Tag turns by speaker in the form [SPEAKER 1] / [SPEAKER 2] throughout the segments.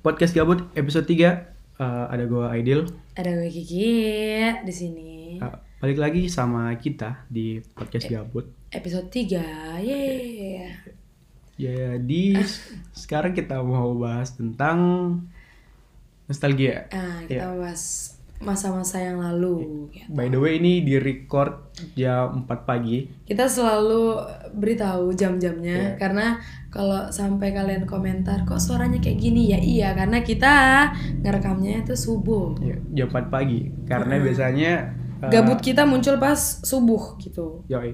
[SPEAKER 1] Podcast Gabut episode 3 Eh, ada gua Aidil.
[SPEAKER 2] Ada gue Kiki di sini.
[SPEAKER 1] Eh, balik lagi sama kita di Podcast Gabut.
[SPEAKER 2] Episode 3. Yeay.
[SPEAKER 1] Jadi s- sekarang kita mau bahas tentang nostalgia.
[SPEAKER 2] Ah, kita bahas masa-masa yang lalu. ya.
[SPEAKER 1] By the way ini di record jam 4 pagi.
[SPEAKER 2] Kita selalu beritahu
[SPEAKER 1] Iya.
[SPEAKER 2] jam-jamnya karena kalau sampai kalian komentar kok suaranya kayak gini ya iya karena kita ngerekamnya itu subuh.
[SPEAKER 1] Ya, jam 4 pagi karena biasanya eh,
[SPEAKER 2] Gabut kita muncul pas subuh gitu.
[SPEAKER 1] Yoi.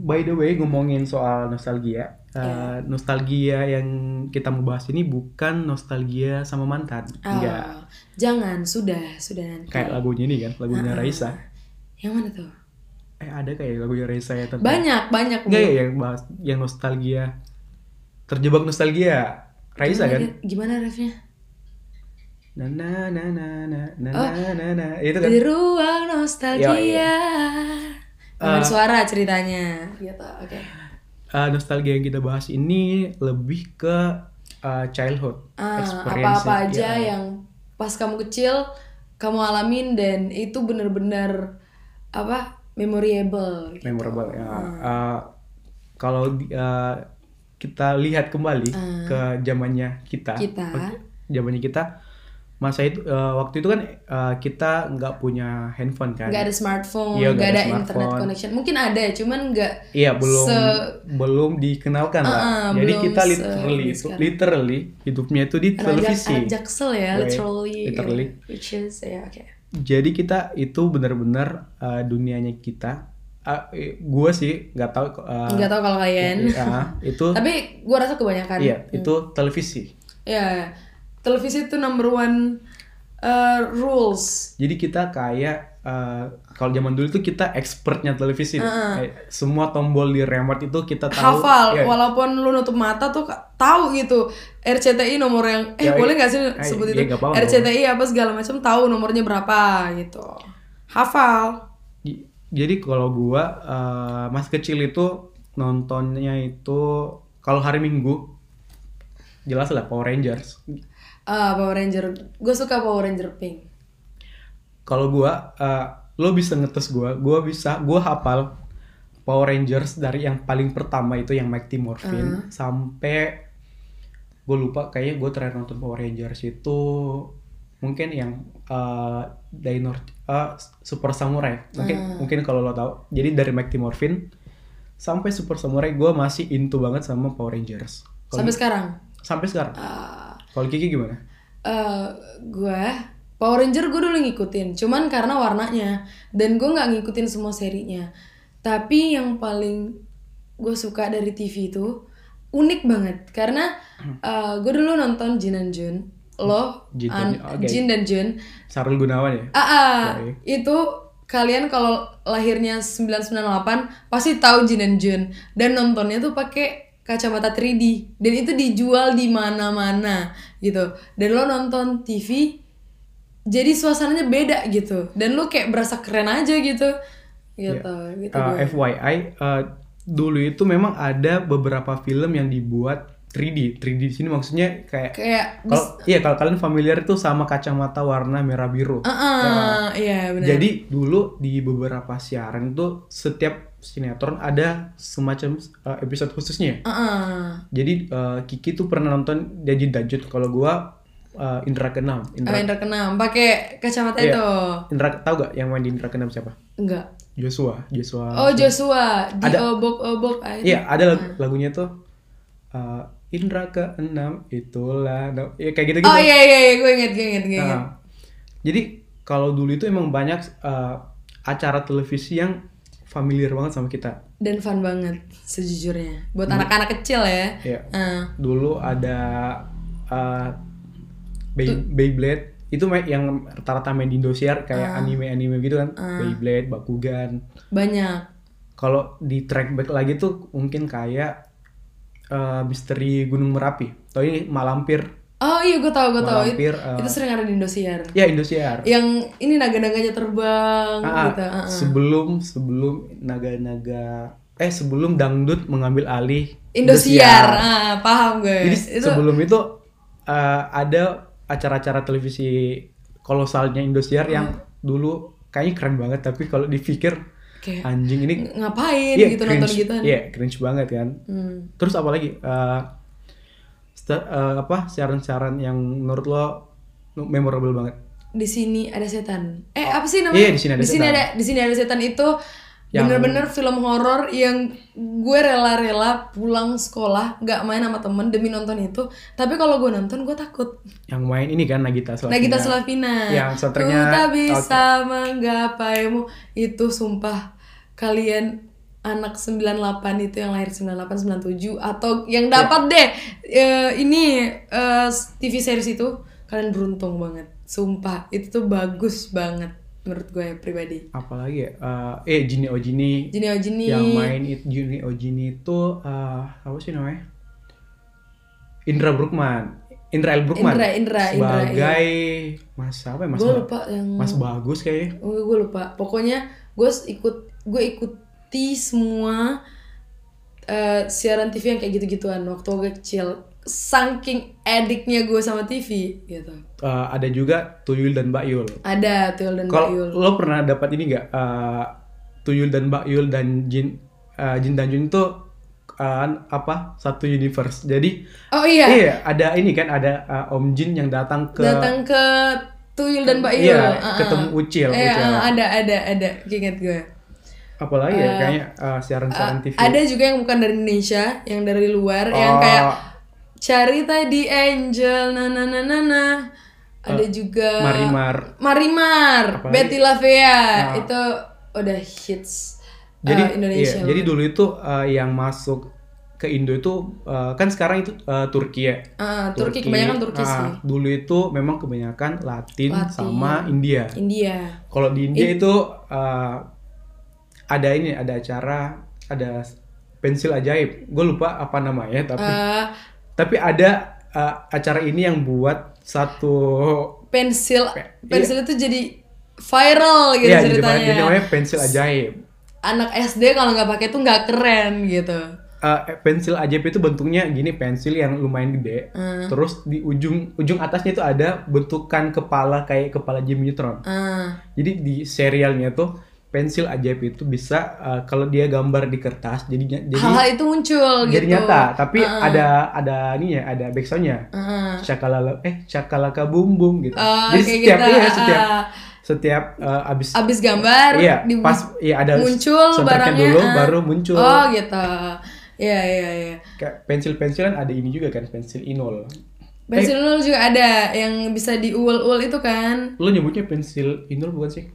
[SPEAKER 1] By the way, ngomongin soal nostalgia, eh, nostalgia yang kita mau bahas ini bukan nostalgia sama mantan,
[SPEAKER 2] Ah,
[SPEAKER 1] enggak.
[SPEAKER 2] jangan sudah sudah
[SPEAKER 1] Iya.
[SPEAKER 2] nanti. Ah,
[SPEAKER 1] Kayak lagunya ini kan, lagunya Raisa.
[SPEAKER 2] Yang mana tuh?
[SPEAKER 1] Eh ada kayak lagunya Raisa ya tentang
[SPEAKER 2] Banyak banyak. Bu.
[SPEAKER 1] enggak ya yang bahas yang nostalgia, terjebak nostalgia. Raisa kan?
[SPEAKER 2] Gimana refnya?
[SPEAKER 1] Na na na na na na
[SPEAKER 2] Oh.
[SPEAKER 1] na na na. itu kan.
[SPEAKER 2] Di ruang nostalgia.
[SPEAKER 1] Yo,
[SPEAKER 2] Nomor
[SPEAKER 1] Ah.
[SPEAKER 2] suara ceritanya. Gitu, oke.
[SPEAKER 1] Eh, nostalgia yang kita bahas ini lebih ke eh, childhood
[SPEAKER 2] Ah,
[SPEAKER 1] experience.
[SPEAKER 2] Apa-apa aja
[SPEAKER 1] iya.
[SPEAKER 2] yang pas kamu kecil kamu alamin dan itu bener-bener apa memorable. gitu.
[SPEAKER 1] memorable ya.
[SPEAKER 2] Hmm.
[SPEAKER 1] Uh, kalau di- uh, kita lihat kembali ke zamannya kita,
[SPEAKER 2] Ah. Kita.
[SPEAKER 1] Oke, zamannya kita masa itu uh, waktu itu kan uh, kita nggak punya handphone kan,
[SPEAKER 2] Gak ada
[SPEAKER 1] Iya,
[SPEAKER 2] smartphone, nggak
[SPEAKER 1] nggak ada
[SPEAKER 2] ada, internet
[SPEAKER 1] smartphone.
[SPEAKER 2] connection. Mungkin ada, cuman nggak
[SPEAKER 1] iya belum
[SPEAKER 2] se-
[SPEAKER 1] belum dikenalkan lah.
[SPEAKER 2] Uh-uh,
[SPEAKER 1] Jadi
[SPEAKER 2] belum
[SPEAKER 1] kita
[SPEAKER 2] se-
[SPEAKER 1] literally
[SPEAKER 2] ini sekarang.
[SPEAKER 1] literally hidupnya itu di
[SPEAKER 2] anak jak-
[SPEAKER 1] televisi.
[SPEAKER 2] anak jaksel ya,
[SPEAKER 1] Right,
[SPEAKER 2] literally,
[SPEAKER 1] literally.
[SPEAKER 2] which is ya oke.
[SPEAKER 1] Jadi kita itu benar-benar uh, dunianya kita. Uh, gue sih nggak tahu. uh,
[SPEAKER 2] Nggak tahu kalau kalian.
[SPEAKER 1] uh, itu
[SPEAKER 2] Tapi kan, eh. gua rasa kebanyakan.
[SPEAKER 1] iya itu televisi.
[SPEAKER 2] Ya, televisi itu number one uh, rules.
[SPEAKER 1] Jadi kita kayak eh, kalau zaman dulu tuh kita expertnya televisi. Kayak semua tombol di remote itu kita tahu.
[SPEAKER 2] Ah, Hafal,
[SPEAKER 1] Ya,
[SPEAKER 2] walaupun lu nutup mata tuh ka- tahu gitu RCTI nomor yang eh
[SPEAKER 1] Ya,
[SPEAKER 2] boleh nggak sih
[SPEAKER 1] ya,
[SPEAKER 2] sebut
[SPEAKER 1] ya,
[SPEAKER 2] itu
[SPEAKER 1] nggak apa-apa.
[SPEAKER 2] RCTI apa segala macam tahu nomornya berapa gitu. Hafal.
[SPEAKER 1] j- Jadi kalau gua eh, masih kecil itu nontonnya itu kalau hari Minggu jelas lah Power Rangers.
[SPEAKER 2] Ah, Power Ranger, gue suka Power Ranger Pink.
[SPEAKER 1] Kalau gua eh, lo bisa ngetes gua, gua bisa, gua hafal Power Rangers dari yang paling pertama itu yang Mighty Morphin sampai gue lupa kayaknya gue terakhir nonton Power Rangers itu mungkin yang uh, Dino- uh, Super Samurai mungkin mungkin kalau lo tahu jadi dari Mighty Morphin sampai Super Samurai gue masih into banget sama Power Rangers Kalau-
[SPEAKER 2] Sampai sekarang. Ah.
[SPEAKER 1] sampai sekarang kalau Kiki gimana
[SPEAKER 2] eh gue Power Ranger gue dulu ngikutin, cuman karena warnanya dan gue nggak ngikutin semua serinya. Tapi yang paling gue suka dari TV itu unik banget karena gue dulu nonton Jin and Jun, lo,
[SPEAKER 1] Hmm. Jin
[SPEAKER 2] An-
[SPEAKER 1] dan- oke.
[SPEAKER 2] Jin dan Jun.
[SPEAKER 1] Sarul Gunawan ya
[SPEAKER 2] Ah, ah, itu kalian kalau lahirnya 998 pasti tahu Jin dan Jun dan nontonnya tuh pakai kacamata 3D dan itu dijual di mana-mana gitu. Dan lo nonton TV jadi suasananya beda gitu dan lo kayak berasa keren aja gitu. Gitu, gitu.
[SPEAKER 1] Uh, FYI uh, dulu itu memang ada beberapa film yang dibuat 3D 3D di sini maksudnya kayak
[SPEAKER 2] Kayak
[SPEAKER 1] kalau iya kalau kalian familiar itu sama kacamata warna merah biru
[SPEAKER 2] ah, ah, iya benar.
[SPEAKER 1] Ya. Jadi dulu di beberapa siaran tuh setiap sinetron ada semacam uh, episode khususnya.
[SPEAKER 2] Ah, ah.
[SPEAKER 1] Jadi uh, Kiki tuh pernah nonton Dajin Dajut kalau gua uh, Indra Kenam. Indra,
[SPEAKER 2] Ah, Indra Kenam pakai kacamata
[SPEAKER 1] Iya.
[SPEAKER 2] itu.
[SPEAKER 1] Indra tahu gak yang main di Indra Kenam siapa?
[SPEAKER 2] Enggak.
[SPEAKER 1] Joshua, Joshua.
[SPEAKER 2] Oh Joshua di obok-obok ah,
[SPEAKER 1] Ah,
[SPEAKER 2] itu.
[SPEAKER 1] Iya, ada lag- lagunya tuh uh, Indra Keenam itulah. Nah, Ya kayak gitu-gitu.
[SPEAKER 2] Oh iya iya iya gue inget gue inget gue inget.
[SPEAKER 1] Nah, jadi kalau dulu itu emang banyak uh, acara televisi yang familiar banget sama kita.
[SPEAKER 2] Dan fun banget sejujurnya buat anak-anak kecil ya.
[SPEAKER 1] Hmm. Iya.
[SPEAKER 2] Eh,
[SPEAKER 1] dulu ada uh, Bey- Beyblade itu main- yang rata-rata main di Indosiar
[SPEAKER 2] Ah.
[SPEAKER 1] kayak anime-anime gitu kan Beyblade, Bakugan
[SPEAKER 2] banyak.
[SPEAKER 1] kalau di track back lagi tuh mungkin kayak uh, Misteri Gunung Merapi atau ini Malampir
[SPEAKER 2] Oh iya gue tau gue tau itu,
[SPEAKER 1] Malampir uh,
[SPEAKER 2] itu sering ada di Indosiar.
[SPEAKER 1] ya Indosiar
[SPEAKER 2] Yang ini naga-naganya terbang
[SPEAKER 1] Ah,
[SPEAKER 2] Iya, gitu. ah, ah.
[SPEAKER 1] sebelum sebelum naga-naga eh sebelum dangdut mengambil alih
[SPEAKER 2] Indosiar, ah, paham gue.
[SPEAKER 1] Jadi
[SPEAKER 2] itu
[SPEAKER 1] sebelum itu eh, ada acara-acara televisi kolosalnya Indosiar yang
[SPEAKER 2] Iya.
[SPEAKER 1] dulu kayaknya keren banget tapi kalau dipikir
[SPEAKER 2] Kayak,
[SPEAKER 1] anjing ini
[SPEAKER 2] ng- ngapain
[SPEAKER 1] iya,
[SPEAKER 2] gitu nonton
[SPEAKER 1] cringe.
[SPEAKER 2] gituan
[SPEAKER 1] Iya, cringe banget kan.
[SPEAKER 2] Hmm.
[SPEAKER 1] Terus apalagi eh, sta- eh, apa siaran-siaran yang menurut lo memorable banget?
[SPEAKER 2] di sini ada setan. Eh apa sih namanya?
[SPEAKER 1] Iya, di sini ada setan.
[SPEAKER 2] ada di sini ada setan itu
[SPEAKER 1] Yang-
[SPEAKER 2] bener-bener film horor yang gue rela-rela pulang sekolah nggak main sama temen demi nonton itu. Tapi kalau gue nonton gue takut.
[SPEAKER 1] Yang main ini kan Nagita Slavina.
[SPEAKER 2] Nagita Slavina.
[SPEAKER 1] Yang soundtracknya-
[SPEAKER 2] Ku tak bisa menggapaimu itu sumpah kalian anak 98 itu yang lahir 98 97 atau
[SPEAKER 1] Ya.
[SPEAKER 2] yang dapat deh eh, ini eh, TV series itu kalian beruntung banget. Sumpah, itu tuh bagus banget menurut gue pribadi.
[SPEAKER 1] Apalagi ya? eh Jini Ojini
[SPEAKER 2] Jini Ojini
[SPEAKER 1] yang main itu Juni Ojini itu eh, apa sih namanya Indra Brukman Indra L Brukman
[SPEAKER 2] Indra, Indra, Indra,
[SPEAKER 1] sebagai mas apa ya mas
[SPEAKER 2] gue
[SPEAKER 1] Ba-
[SPEAKER 2] lupa yang
[SPEAKER 1] mas bagus kayaknya
[SPEAKER 2] gue Oh, gue lupa pokoknya gue s- ikut gue ikuti semua eh, siaran TV yang kayak gitu-gituan waktu gue kecil saking ediknya gue sama TV gitu
[SPEAKER 1] Eh, ada juga Tuyul dan Mbak Yul
[SPEAKER 2] ada Tuyul dan
[SPEAKER 1] kalau
[SPEAKER 2] Bayul
[SPEAKER 1] lo pernah dapat ini nggak eh, Tuyul dan Mbak Yul dan Jin eh, Jin dan Jun itu eh, apa satu universe jadi
[SPEAKER 2] oh iya
[SPEAKER 1] iya ada ini kan ada eh, Om Jin yang datang ke
[SPEAKER 2] datang ke Tuyul dan Bayul Ah,
[SPEAKER 1] Iya, ketemu Ucil,
[SPEAKER 2] eh,
[SPEAKER 1] Ucil.
[SPEAKER 2] eh, ada ada ada ingat gue Ah,
[SPEAKER 1] apalagi ya kayaknya eh, siaran-siaran TV
[SPEAKER 2] ada juga yang bukan dari Indonesia yang dari luar yang
[SPEAKER 1] Oh.
[SPEAKER 2] kayak cari tadi Angel na na na na na ada
[SPEAKER 1] Eh,
[SPEAKER 2] juga
[SPEAKER 1] Marimar
[SPEAKER 2] Marimar,
[SPEAKER 1] Apalagi?
[SPEAKER 2] Betty Lavea itu udah hits uh,
[SPEAKER 1] Ah. jadi
[SPEAKER 2] Indonesia.
[SPEAKER 1] iya, jadi dulu itu eh, yang masuk ke Indo itu eh, kan sekarang itu eh, Turki ya
[SPEAKER 2] Ah, Turki, kebanyakan Turki
[SPEAKER 1] ah,
[SPEAKER 2] sih.
[SPEAKER 1] dulu itu memang kebanyakan Latin,
[SPEAKER 2] Latin.
[SPEAKER 1] sama India
[SPEAKER 2] India.
[SPEAKER 1] kalau di India itu eh, ada ini ada acara ada pensil ajaib gue lupa apa namanya tapi
[SPEAKER 2] Eh,
[SPEAKER 1] tapi ada eh, acara ini yang buat satu
[SPEAKER 2] pensil pensil itu jadi viral gitu
[SPEAKER 1] Iya, jadi
[SPEAKER 2] ceritanya.
[SPEAKER 1] jadi namanya pensil ajaib
[SPEAKER 2] Anak SD kalau nggak pakai tuh nggak keren gitu.
[SPEAKER 1] Eh, pensil ajaib itu bentuknya gini pensil yang lumayan gede
[SPEAKER 2] Hmm.
[SPEAKER 1] terus di ujung ujung atasnya itu ada bentukan kepala kayak kepala Jimmy Neutron
[SPEAKER 2] Ah,
[SPEAKER 1] jadi di serialnya tuh pensil ajaib itu bisa eh, kalau dia gambar di kertas jadinya jadi
[SPEAKER 2] hal-hal itu muncul
[SPEAKER 1] jadi
[SPEAKER 2] gitu.
[SPEAKER 1] nyata tapi ada ada ininya ada backsoundnya
[SPEAKER 2] Ah,
[SPEAKER 1] cakalala eh cakalaka bum bum gitu
[SPEAKER 2] ah,
[SPEAKER 1] jadi
[SPEAKER 2] kayak
[SPEAKER 1] setiap
[SPEAKER 2] gitu,
[SPEAKER 1] iya,
[SPEAKER 2] ah,
[SPEAKER 1] setiap
[SPEAKER 2] ah.
[SPEAKER 1] setiap eh, abis
[SPEAKER 2] abis gambar
[SPEAKER 1] iya
[SPEAKER 2] di-
[SPEAKER 1] pas iya ada
[SPEAKER 2] muncul
[SPEAKER 1] soundtracknya
[SPEAKER 2] barangnya
[SPEAKER 1] dulu
[SPEAKER 2] ah.
[SPEAKER 1] baru muncul
[SPEAKER 2] Oh gitu. Iya iya iya.
[SPEAKER 1] kayak pensil-pensilan ada ini juga kan pensil inol Eh.
[SPEAKER 2] Pensil nol juga ada yang bisa diuul-uul itu kan.
[SPEAKER 1] lo nyebutnya pensil inul bukan sih?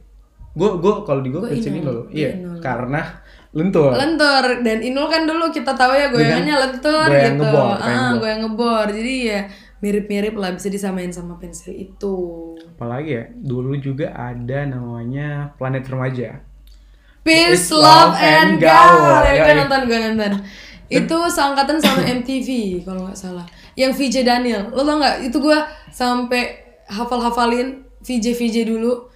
[SPEAKER 1] Gue gua kalau di gue
[SPEAKER 2] Gua
[SPEAKER 1] pensil inul,
[SPEAKER 2] inul, gua
[SPEAKER 1] iya
[SPEAKER 2] inul.
[SPEAKER 1] karena lentur.
[SPEAKER 2] Lentur dan inul kan dulu kita tahu ya goyangannya lentur
[SPEAKER 1] Iya goyang
[SPEAKER 2] gitu.
[SPEAKER 1] ngebor,
[SPEAKER 2] Ah,
[SPEAKER 1] goyang ngebor.
[SPEAKER 2] goyang ngebor. Jadi ya mirip-mirip lah bisa disamain sama pensil itu.
[SPEAKER 1] Apalagi ya dulu juga ada namanya planet
[SPEAKER 2] Iya.
[SPEAKER 1] remaja. It's
[SPEAKER 2] Peace, love,
[SPEAKER 1] love
[SPEAKER 2] and
[SPEAKER 1] and
[SPEAKER 2] gaul.
[SPEAKER 1] gaul.
[SPEAKER 2] Ya,
[SPEAKER 1] Yoi.
[SPEAKER 2] gue nonton, gue nonton. Itu seangkatan sama MTV kalau nggak salah. Yang VJ Daniel, lo tau nggak? Itu gue sampai hafal-hafalin VJ VJ dulu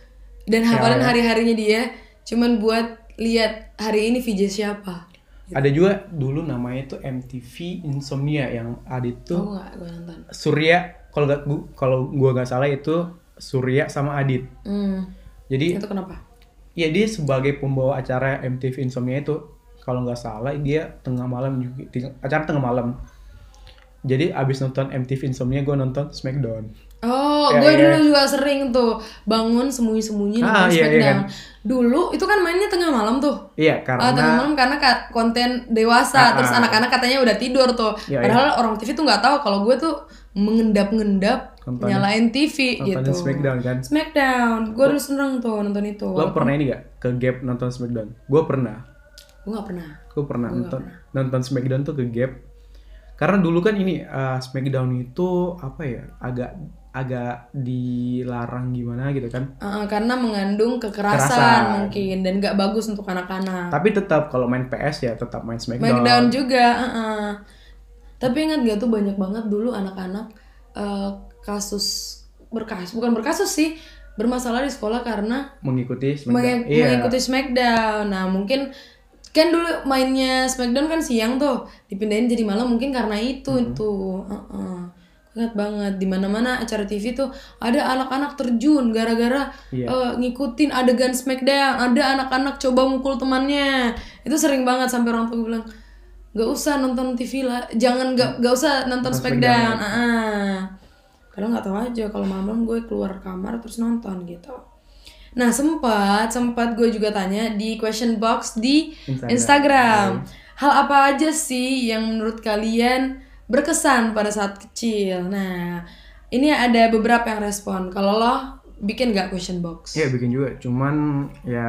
[SPEAKER 2] dan hafalin
[SPEAKER 1] Ya.
[SPEAKER 2] hari-harinya dia. Cuman buat lihat hari ini VJ siapa.
[SPEAKER 1] Ada juga dulu namanya itu MTV Insomnia yang ada itu
[SPEAKER 2] Tahu nggak gue nonton?
[SPEAKER 1] Surya kalau nggak gua- kalau gua nggak salah itu Surya sama Adit.
[SPEAKER 2] Hmm.
[SPEAKER 1] Jadi
[SPEAKER 2] Itu kenapa?
[SPEAKER 1] ya dia sebagai pembawa acara MTV Insomnia itu kalau nggak salah dia tengah malam juga ting- acara tengah malam. Jadi abis nonton MTV Insomnia gue nonton Smackdown.
[SPEAKER 2] Oh,
[SPEAKER 1] Ya,
[SPEAKER 2] gue
[SPEAKER 1] ya.
[SPEAKER 2] dulu juga sering tuh bangun sembunyi-sembunyi nonton
[SPEAKER 1] Ah, iya, iya
[SPEAKER 2] Smackdown.
[SPEAKER 1] kan.
[SPEAKER 2] Dulu itu kan mainnya tengah malam tuh.
[SPEAKER 1] Iya
[SPEAKER 2] Ah, tengah
[SPEAKER 1] karena
[SPEAKER 2] malam karena ka- konten dewasa
[SPEAKER 1] Ah,
[SPEAKER 2] terus
[SPEAKER 1] ah.
[SPEAKER 2] anak-anak katanya udah tidur tuh.
[SPEAKER 1] Ya,
[SPEAKER 2] Padahal orang TV tuh nggak tahu kalau gue tuh mengendap-ngendap
[SPEAKER 1] Nontonin-
[SPEAKER 2] nyalain TV
[SPEAKER 1] nontonin
[SPEAKER 2] gitu.
[SPEAKER 1] Smackdown kan.
[SPEAKER 2] Smackdown. Gue dulu seneng tuh nonton itu.
[SPEAKER 1] Lo pernah ini gak ke Gap nonton Smackdown? Gue pernah.
[SPEAKER 2] Gue nggak pernah.
[SPEAKER 1] Gue pernah nonton nonton Smackdown tuh ke Gap. Karena dulu kan ini eh, Smackdown itu apa ya? Agak agak dilarang gimana gitu kan.
[SPEAKER 2] Ah, ah, karena mengandung kekerasan,
[SPEAKER 1] Kekerasan.
[SPEAKER 2] mungkin dan nggak bagus untuk anak-anak.
[SPEAKER 1] Tapi tetap kalau main PS ya tetap main Smackdown.
[SPEAKER 2] Smackdown juga. heeh. Tapi ingat gak tuh banyak banget dulu anak-anak eh, kasus berkasus bukan berkasus sih bermasalah di sekolah karena
[SPEAKER 1] Mengikuti Smackdown.
[SPEAKER 2] menge-
[SPEAKER 1] Iya.
[SPEAKER 2] mengikuti Smackdown. Nah mungkin kan dulu
[SPEAKER 1] Hmm.
[SPEAKER 2] mainnya Smackdown kan siang tuh dipindahin jadi malam mungkin karena itu tuh. heeh. Gue Ingat banget di mana-mana acara TV tuh ada anak-anak terjun gara-gara
[SPEAKER 1] Iya.
[SPEAKER 2] eh, ngikutin adegan Smackdown, ada anak-anak coba mukul temannya. Itu sering banget sampai orang tua gue bilang, "Gak usah nonton TV lah, jangan gak, gak usah nonton Smackdown." Ah, ah. Padahal nggak tahu aja kalau malam gue keluar kamar terus nonton gitu. Nah, sempat sempat gue juga tanya di question box di
[SPEAKER 1] Instagram. Iya.
[SPEAKER 2] Instagram. Hal apa aja sih yang menurut kalian berkesan pada saat kecil? Nah, ini ada beberapa yang respon. Kalau lo bikin gak question box?
[SPEAKER 1] Iya bikin juga, cuman ya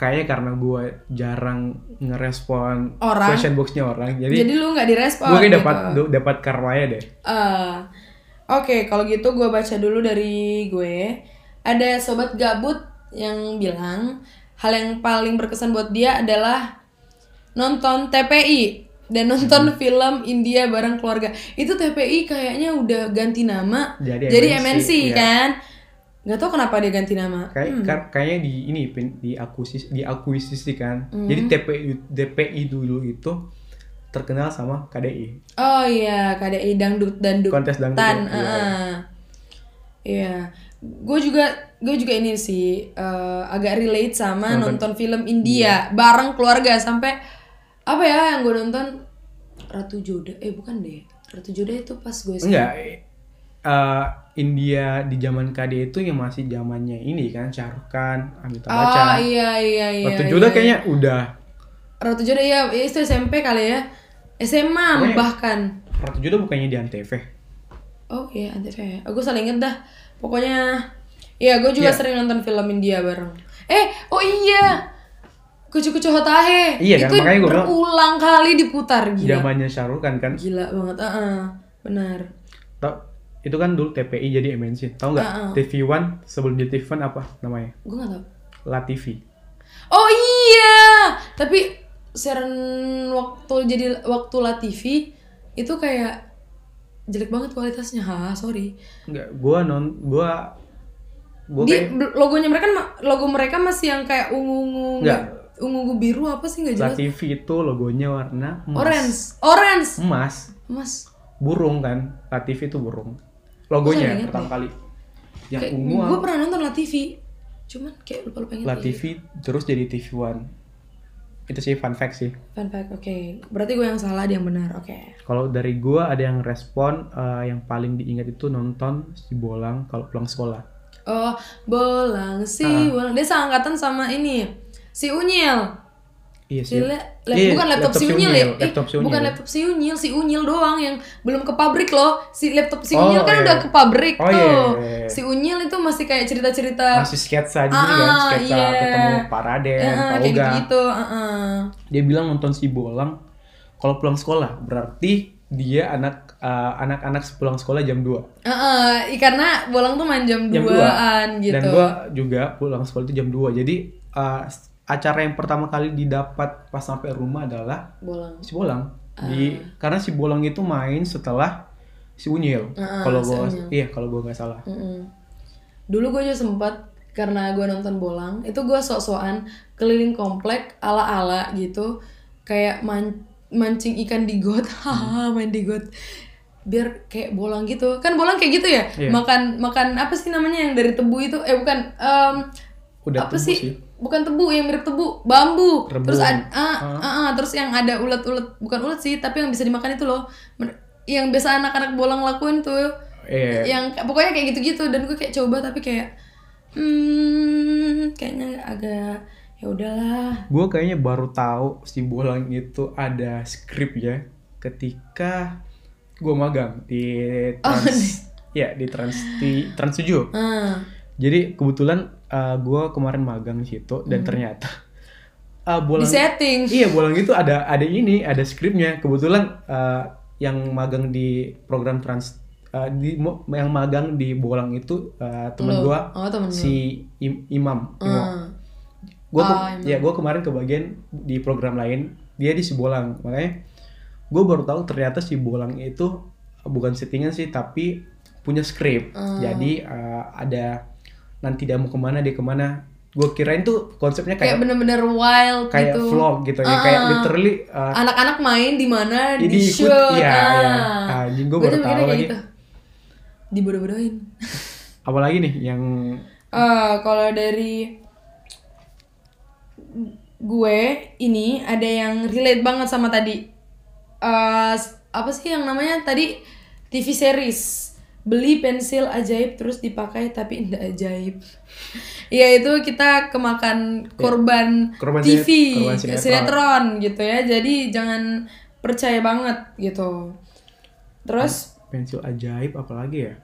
[SPEAKER 1] kayaknya karena gue jarang ngerespon
[SPEAKER 2] Orang.
[SPEAKER 1] question boxnya orang, jadi,
[SPEAKER 2] Jadi lu nggak direspon?
[SPEAKER 1] gue kayak
[SPEAKER 2] gitu.
[SPEAKER 1] dapat dapat karmanya deh.
[SPEAKER 2] Eh, Oke, kalau gitu gue baca dulu dari gue. Ada sobat gabut yang bilang hal yang paling berkesan buat dia adalah nonton TPI dan nonton
[SPEAKER 1] Hmm.
[SPEAKER 2] film India bareng keluarga. Itu TPI kayaknya udah ganti nama
[SPEAKER 1] Jadi
[SPEAKER 2] MNC,
[SPEAKER 1] MNC, iya.
[SPEAKER 2] kan? Gak tau kenapa dia ganti nama.
[SPEAKER 1] Kayak kar- kayaknya di ini pin- di akuisis diakuisisikan.
[SPEAKER 2] Hmm.
[SPEAKER 1] Jadi TPI DPI dulu itu terkenal sama KDI.
[SPEAKER 2] Oh iya, KDI dangdut dan
[SPEAKER 1] Kontes dangdut,
[SPEAKER 2] Tan,
[SPEAKER 1] iya,
[SPEAKER 2] heeh. Iya. Gue juga gue juga ini sih eh, agak relate sama nonton, film
[SPEAKER 1] Iya.
[SPEAKER 2] India bareng keluarga sampai apa ya yang gue nonton Ratu Joda. Eh bukan deh. Ratu Joda itu pas gue sih.
[SPEAKER 1] Enggak. eh, India di zaman KDI itu yang masih zamannya ini kan Shah Rukh Khan, Amitabh Bachchan.
[SPEAKER 2] Oh iya iya iya.
[SPEAKER 1] Waktu
[SPEAKER 2] iya.
[SPEAKER 1] Jodoh kayaknya udah
[SPEAKER 2] Ratu Joda ya itu SMP kali ya. SMA
[SPEAKER 1] Pokoknya-
[SPEAKER 2] bahkan.
[SPEAKER 1] Ratu Jodoh bukannya di Antv.
[SPEAKER 2] Oh iya Antv. Aku saling inget dah. Pokoknya ya gue juga
[SPEAKER 1] Iya.
[SPEAKER 2] sering nonton film India bareng. Eh, oh iya. Kucu-kucu Hotahe.
[SPEAKER 1] Iya kan,
[SPEAKER 2] Itu
[SPEAKER 1] makanya gua bilang- Iya,
[SPEAKER 2] berulang kali diputar gila.
[SPEAKER 1] Zamannya Shah Rukh Khan kan.
[SPEAKER 2] Gila banget. Heeh. Benar.
[SPEAKER 1] Tau- itu kan dulu TPI jadi MNC. Tahu nggak?
[SPEAKER 2] Ah, ah.
[SPEAKER 1] TV One sebelum jadi TV One apa namanya?
[SPEAKER 2] Gue gak tau.
[SPEAKER 1] La TV.
[SPEAKER 2] Oh iya. Tapi siaran waktu jadi waktu La TV itu kayak jelek banget kualitasnya. Ha, sorry.
[SPEAKER 1] Enggak, gua non gua gua
[SPEAKER 2] Dia-
[SPEAKER 1] kayak
[SPEAKER 2] logonya mereka kan ma- logo mereka masih yang kayak ungu-ungu
[SPEAKER 1] Nggak.
[SPEAKER 2] ungu-ungu biru apa sih nggak
[SPEAKER 1] La
[SPEAKER 2] jelas.
[SPEAKER 1] TV itu logonya warna emas.
[SPEAKER 2] Iya. Orange, orange.
[SPEAKER 1] Emas.
[SPEAKER 2] Mas,
[SPEAKER 1] Burung kan. La TV itu burung.
[SPEAKER 2] Gua nggak
[SPEAKER 1] Logonya
[SPEAKER 2] ingat
[SPEAKER 1] pertama
[SPEAKER 2] deh.
[SPEAKER 1] kali. Yang
[SPEAKER 2] kayak
[SPEAKER 1] ungu
[SPEAKER 2] gue
[SPEAKER 1] apa?
[SPEAKER 2] pernah nonton La TV. Cuman kayak lupa lupa ingat.
[SPEAKER 1] La TV terus jadi TV One. Itu sih fun fact sih.
[SPEAKER 2] Fun fact, oke. Berarti gue yang salah, dia yang benar. Oke.
[SPEAKER 1] Kalau dari gua ada yang respon eh, yang paling diingat itu nonton si Bolang kalau pulang sekolah.
[SPEAKER 2] Oh, bolang si
[SPEAKER 1] Ah.
[SPEAKER 2] bolang. Dia seangkatan sama ini. Si Unyil.
[SPEAKER 1] Iya
[SPEAKER 2] Si
[SPEAKER 1] sih.
[SPEAKER 2] le- lap-
[SPEAKER 1] Iya,
[SPEAKER 2] bukan laptop, si Unyil, ya. Eh,
[SPEAKER 1] Laptop si Unyil.
[SPEAKER 2] bukan laptop si Unyil, si Unyil doang yang belum ke pabrik loh. Si laptop si
[SPEAKER 1] Oh,
[SPEAKER 2] Unyil kan
[SPEAKER 1] iya.
[SPEAKER 2] udah ke pabrik
[SPEAKER 1] Oh,
[SPEAKER 2] tuh.
[SPEAKER 1] iya, iya, iya.
[SPEAKER 2] Si Unyil itu masih kayak cerita-cerita
[SPEAKER 1] Masih sketsa di
[SPEAKER 2] Ah,
[SPEAKER 1] sini kan, sketsa
[SPEAKER 2] iya.
[SPEAKER 1] ketemu Pak Raden,
[SPEAKER 2] eh, eh,
[SPEAKER 1] Pak
[SPEAKER 2] kayak
[SPEAKER 1] Oga.
[SPEAKER 2] gitu-gitu. eh, eh.
[SPEAKER 1] Dia bilang nonton si Bolang kalau pulang sekolah, berarti dia anak eh, anak-anak pulang sekolah jam 2.
[SPEAKER 2] Eh, eh, karena bolang tuh main jam
[SPEAKER 1] Jam
[SPEAKER 2] 2-an gitu.
[SPEAKER 1] Dan gua juga pulang sekolah itu jam 2. Jadi eh, acara yang pertama kali didapat pas sampai rumah adalah
[SPEAKER 2] bolang.
[SPEAKER 1] si Bolang.
[SPEAKER 2] Ah.
[SPEAKER 1] Di karena si Bolang itu main setelah si Unyil.
[SPEAKER 2] Ah,
[SPEAKER 1] kalau
[SPEAKER 2] si
[SPEAKER 1] gua
[SPEAKER 2] Unyil.
[SPEAKER 1] iya, kalau gua nggak salah.
[SPEAKER 2] Mm-mm. Dulu gue juga sempet karena gue nonton bolang, itu gue sok-sokan keliling komplek ala-ala gitu, kayak man- mancing ikan di got, hahaha main di got, biar kayak bolang gitu, kan bolang kayak gitu ya,
[SPEAKER 1] Iya.
[SPEAKER 2] makan makan apa sih namanya yang dari tebu itu, eh bukan em,
[SPEAKER 1] Udah
[SPEAKER 2] apa
[SPEAKER 1] tumbuh
[SPEAKER 2] sih? bukan tebu yang mirip tebu bambu
[SPEAKER 1] Rebung.
[SPEAKER 2] terus ada ah, ah, ah, terus yang ada ulet-ulet bukan ulet sih tapi yang bisa dimakan itu loh Men- yang biasa anak-anak bolang lakuin tuh
[SPEAKER 1] Eh,
[SPEAKER 2] yang pokoknya kayak gitu-gitu dan gue kayak coba tapi kayak hmm kayaknya agak ya udahlah
[SPEAKER 1] gue kayaknya baru tahu si bolang itu ada skrip ya ketika gue magang di trans ya di trans di trans 7.
[SPEAKER 2] Oh, ah
[SPEAKER 1] jadi kebetulan gue kemarin magang di situ dan
[SPEAKER 2] Hmm.
[SPEAKER 1] ternyata eh,
[SPEAKER 2] di
[SPEAKER 1] bolang
[SPEAKER 2] setting
[SPEAKER 1] iya bolang itu ada ada ini ada skripnya kebetulan eh, yang magang di program trans eh, di mo- yang magang di bolang itu eh, temen
[SPEAKER 2] Lo.
[SPEAKER 1] gue
[SPEAKER 2] oh temen lo.
[SPEAKER 1] si Im- imam Imo
[SPEAKER 2] Ah.
[SPEAKER 1] gue
[SPEAKER 2] Ah, emang.
[SPEAKER 1] ya gue kemarin kebagian di program lain dia di Sibolang makanya gue baru tahu ternyata si Bolang itu bukan settingan sih tapi punya skrip
[SPEAKER 2] Oh.
[SPEAKER 1] jadi eh, ada nanti dia mau kemana dia kemana gue kirain tuh konsepnya
[SPEAKER 2] kayak
[SPEAKER 1] kayak
[SPEAKER 2] bener-bener wild
[SPEAKER 1] kayak
[SPEAKER 2] gitu
[SPEAKER 1] vlog gitu ya
[SPEAKER 2] Ah,
[SPEAKER 1] kayak
[SPEAKER 2] ah.
[SPEAKER 1] literally eh,
[SPEAKER 2] anak-anak main di mana
[SPEAKER 1] ini
[SPEAKER 2] di
[SPEAKER 1] ikut
[SPEAKER 2] shoot
[SPEAKER 1] iya
[SPEAKER 2] ah.
[SPEAKER 1] iya anjing gue
[SPEAKER 2] Gua
[SPEAKER 1] baru
[SPEAKER 2] tuh
[SPEAKER 1] tahu
[SPEAKER 2] mikirnya kayak
[SPEAKER 1] lagi
[SPEAKER 2] gitu. dibodoh-bodohin.
[SPEAKER 1] Apalagi nih yang
[SPEAKER 2] Eh, kalau dari gue ini ada yang relate banget sama tadi. Eh, s- apa sih yang namanya tadi TV series beli pensil ajaib terus dipakai tapi tidak ajaib. Iya itu kita kemakan korban,
[SPEAKER 1] Iya. Korban
[SPEAKER 2] TV,
[SPEAKER 1] sinet- korban sinetron.
[SPEAKER 2] sinetron gitu ya. Jadi jangan percaya banget gitu. Terus
[SPEAKER 1] pensil ajaib apalagi ya?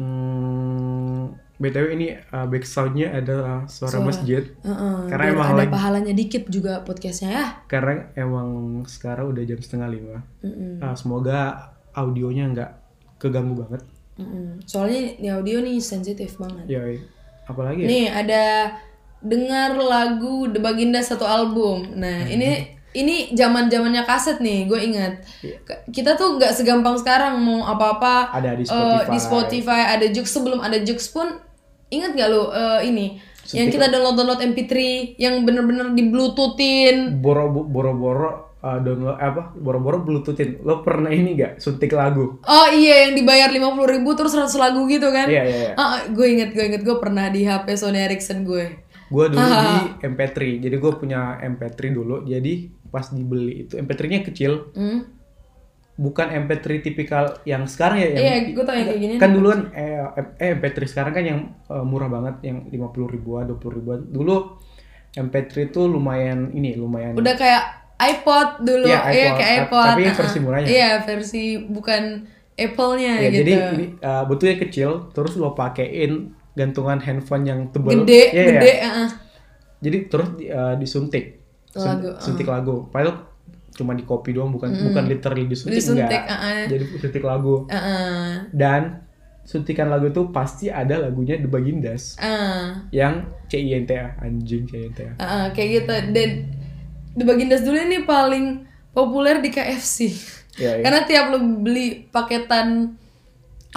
[SPEAKER 1] Hmm, btw ini uh, back soundnya ada suara,
[SPEAKER 2] Suara.
[SPEAKER 1] masjid.
[SPEAKER 2] Heeh,
[SPEAKER 1] Karena
[SPEAKER 2] biar
[SPEAKER 1] emang
[SPEAKER 2] eh, ada
[SPEAKER 1] lagi-
[SPEAKER 2] pahalanya dikit juga podcastnya ya.
[SPEAKER 1] Karena emang sekarang udah jam setengah lima.
[SPEAKER 2] Mm-mm,
[SPEAKER 1] Nah, semoga audionya nggak keganggu banget.
[SPEAKER 2] mm-mm. Soalnya di audio nih sensitif banget.
[SPEAKER 1] Yoi. Apalagi ya?
[SPEAKER 2] Nih ada dengar lagu The Baginda satu album. Nah ini ini zaman zamannya kaset nih, gue ingat. Ke- Kita tuh nggak segampang sekarang mau apa-apa
[SPEAKER 1] Iya. Ada di
[SPEAKER 2] eh,
[SPEAKER 1] Spotify.
[SPEAKER 2] di Spotify ada Jux sebelum ada Jux pun ingat gak lo eh, ini yang kita download download MP3 yang bener-bener di bluetoothin
[SPEAKER 1] boro boro boro uh, download apa boro boro bluetoothin lo pernah ini gak suntik lagu
[SPEAKER 2] Oh iya yang dibayar 50.000 ribu terus 100 lagu gitu kan?
[SPEAKER 1] iya iya iya.
[SPEAKER 2] Ah, gue inget gue inget gue pernah di HP Sony Ericsson gue.
[SPEAKER 1] gue dulu di MP3 jadi gue punya MP3 dulu jadi pas dibeli itu MP3-nya kecil
[SPEAKER 2] Hmm?
[SPEAKER 1] bukan MP3 tipikal yang sekarang ya yang
[SPEAKER 2] Iya gue tau yang kayak gini.
[SPEAKER 1] kan duluan eh, eh, MP3 sekarang kan yang eh, murah banget yang 50 ribuan 20 ribuan dulu MP3 itu lumayan ini lumayan
[SPEAKER 2] Udah kayak iPod dulu,
[SPEAKER 1] Iya,
[SPEAKER 2] iya
[SPEAKER 1] iPod.
[SPEAKER 2] kayak
[SPEAKER 1] Ta-
[SPEAKER 2] iPod.
[SPEAKER 1] tapi yang
[SPEAKER 2] ah,
[SPEAKER 1] versi
[SPEAKER 2] ah.
[SPEAKER 1] murahnya.
[SPEAKER 2] Iya versi bukan Apple-nya
[SPEAKER 1] ya,
[SPEAKER 2] gitu.
[SPEAKER 1] jadi ini eh, bentuknya kecil terus lo pakein gantungan handphone yang tebel
[SPEAKER 2] gede,
[SPEAKER 1] Iya, iya.
[SPEAKER 2] gede. ah, ah.
[SPEAKER 1] jadi terus di- eh, disuntik Sun-
[SPEAKER 2] Lagu, ah.
[SPEAKER 1] suntik lagu padahal cuma di copy doang bukan bukan literally disuntik,
[SPEAKER 2] Disuntik,
[SPEAKER 1] enggak
[SPEAKER 2] uh-uh.
[SPEAKER 1] jadi suntik lagu
[SPEAKER 2] Ah, ah.
[SPEAKER 1] dan suntikan lagu itu pasti ada lagunya The Bagindas
[SPEAKER 2] Ah,
[SPEAKER 1] yang CINTA anjing CINTA
[SPEAKER 2] ah, ah, kayak gitu. Dan The Bagindas dulu ini paling populer di KFC.
[SPEAKER 1] Iya, iya.
[SPEAKER 2] Karena tiap lu beli paketan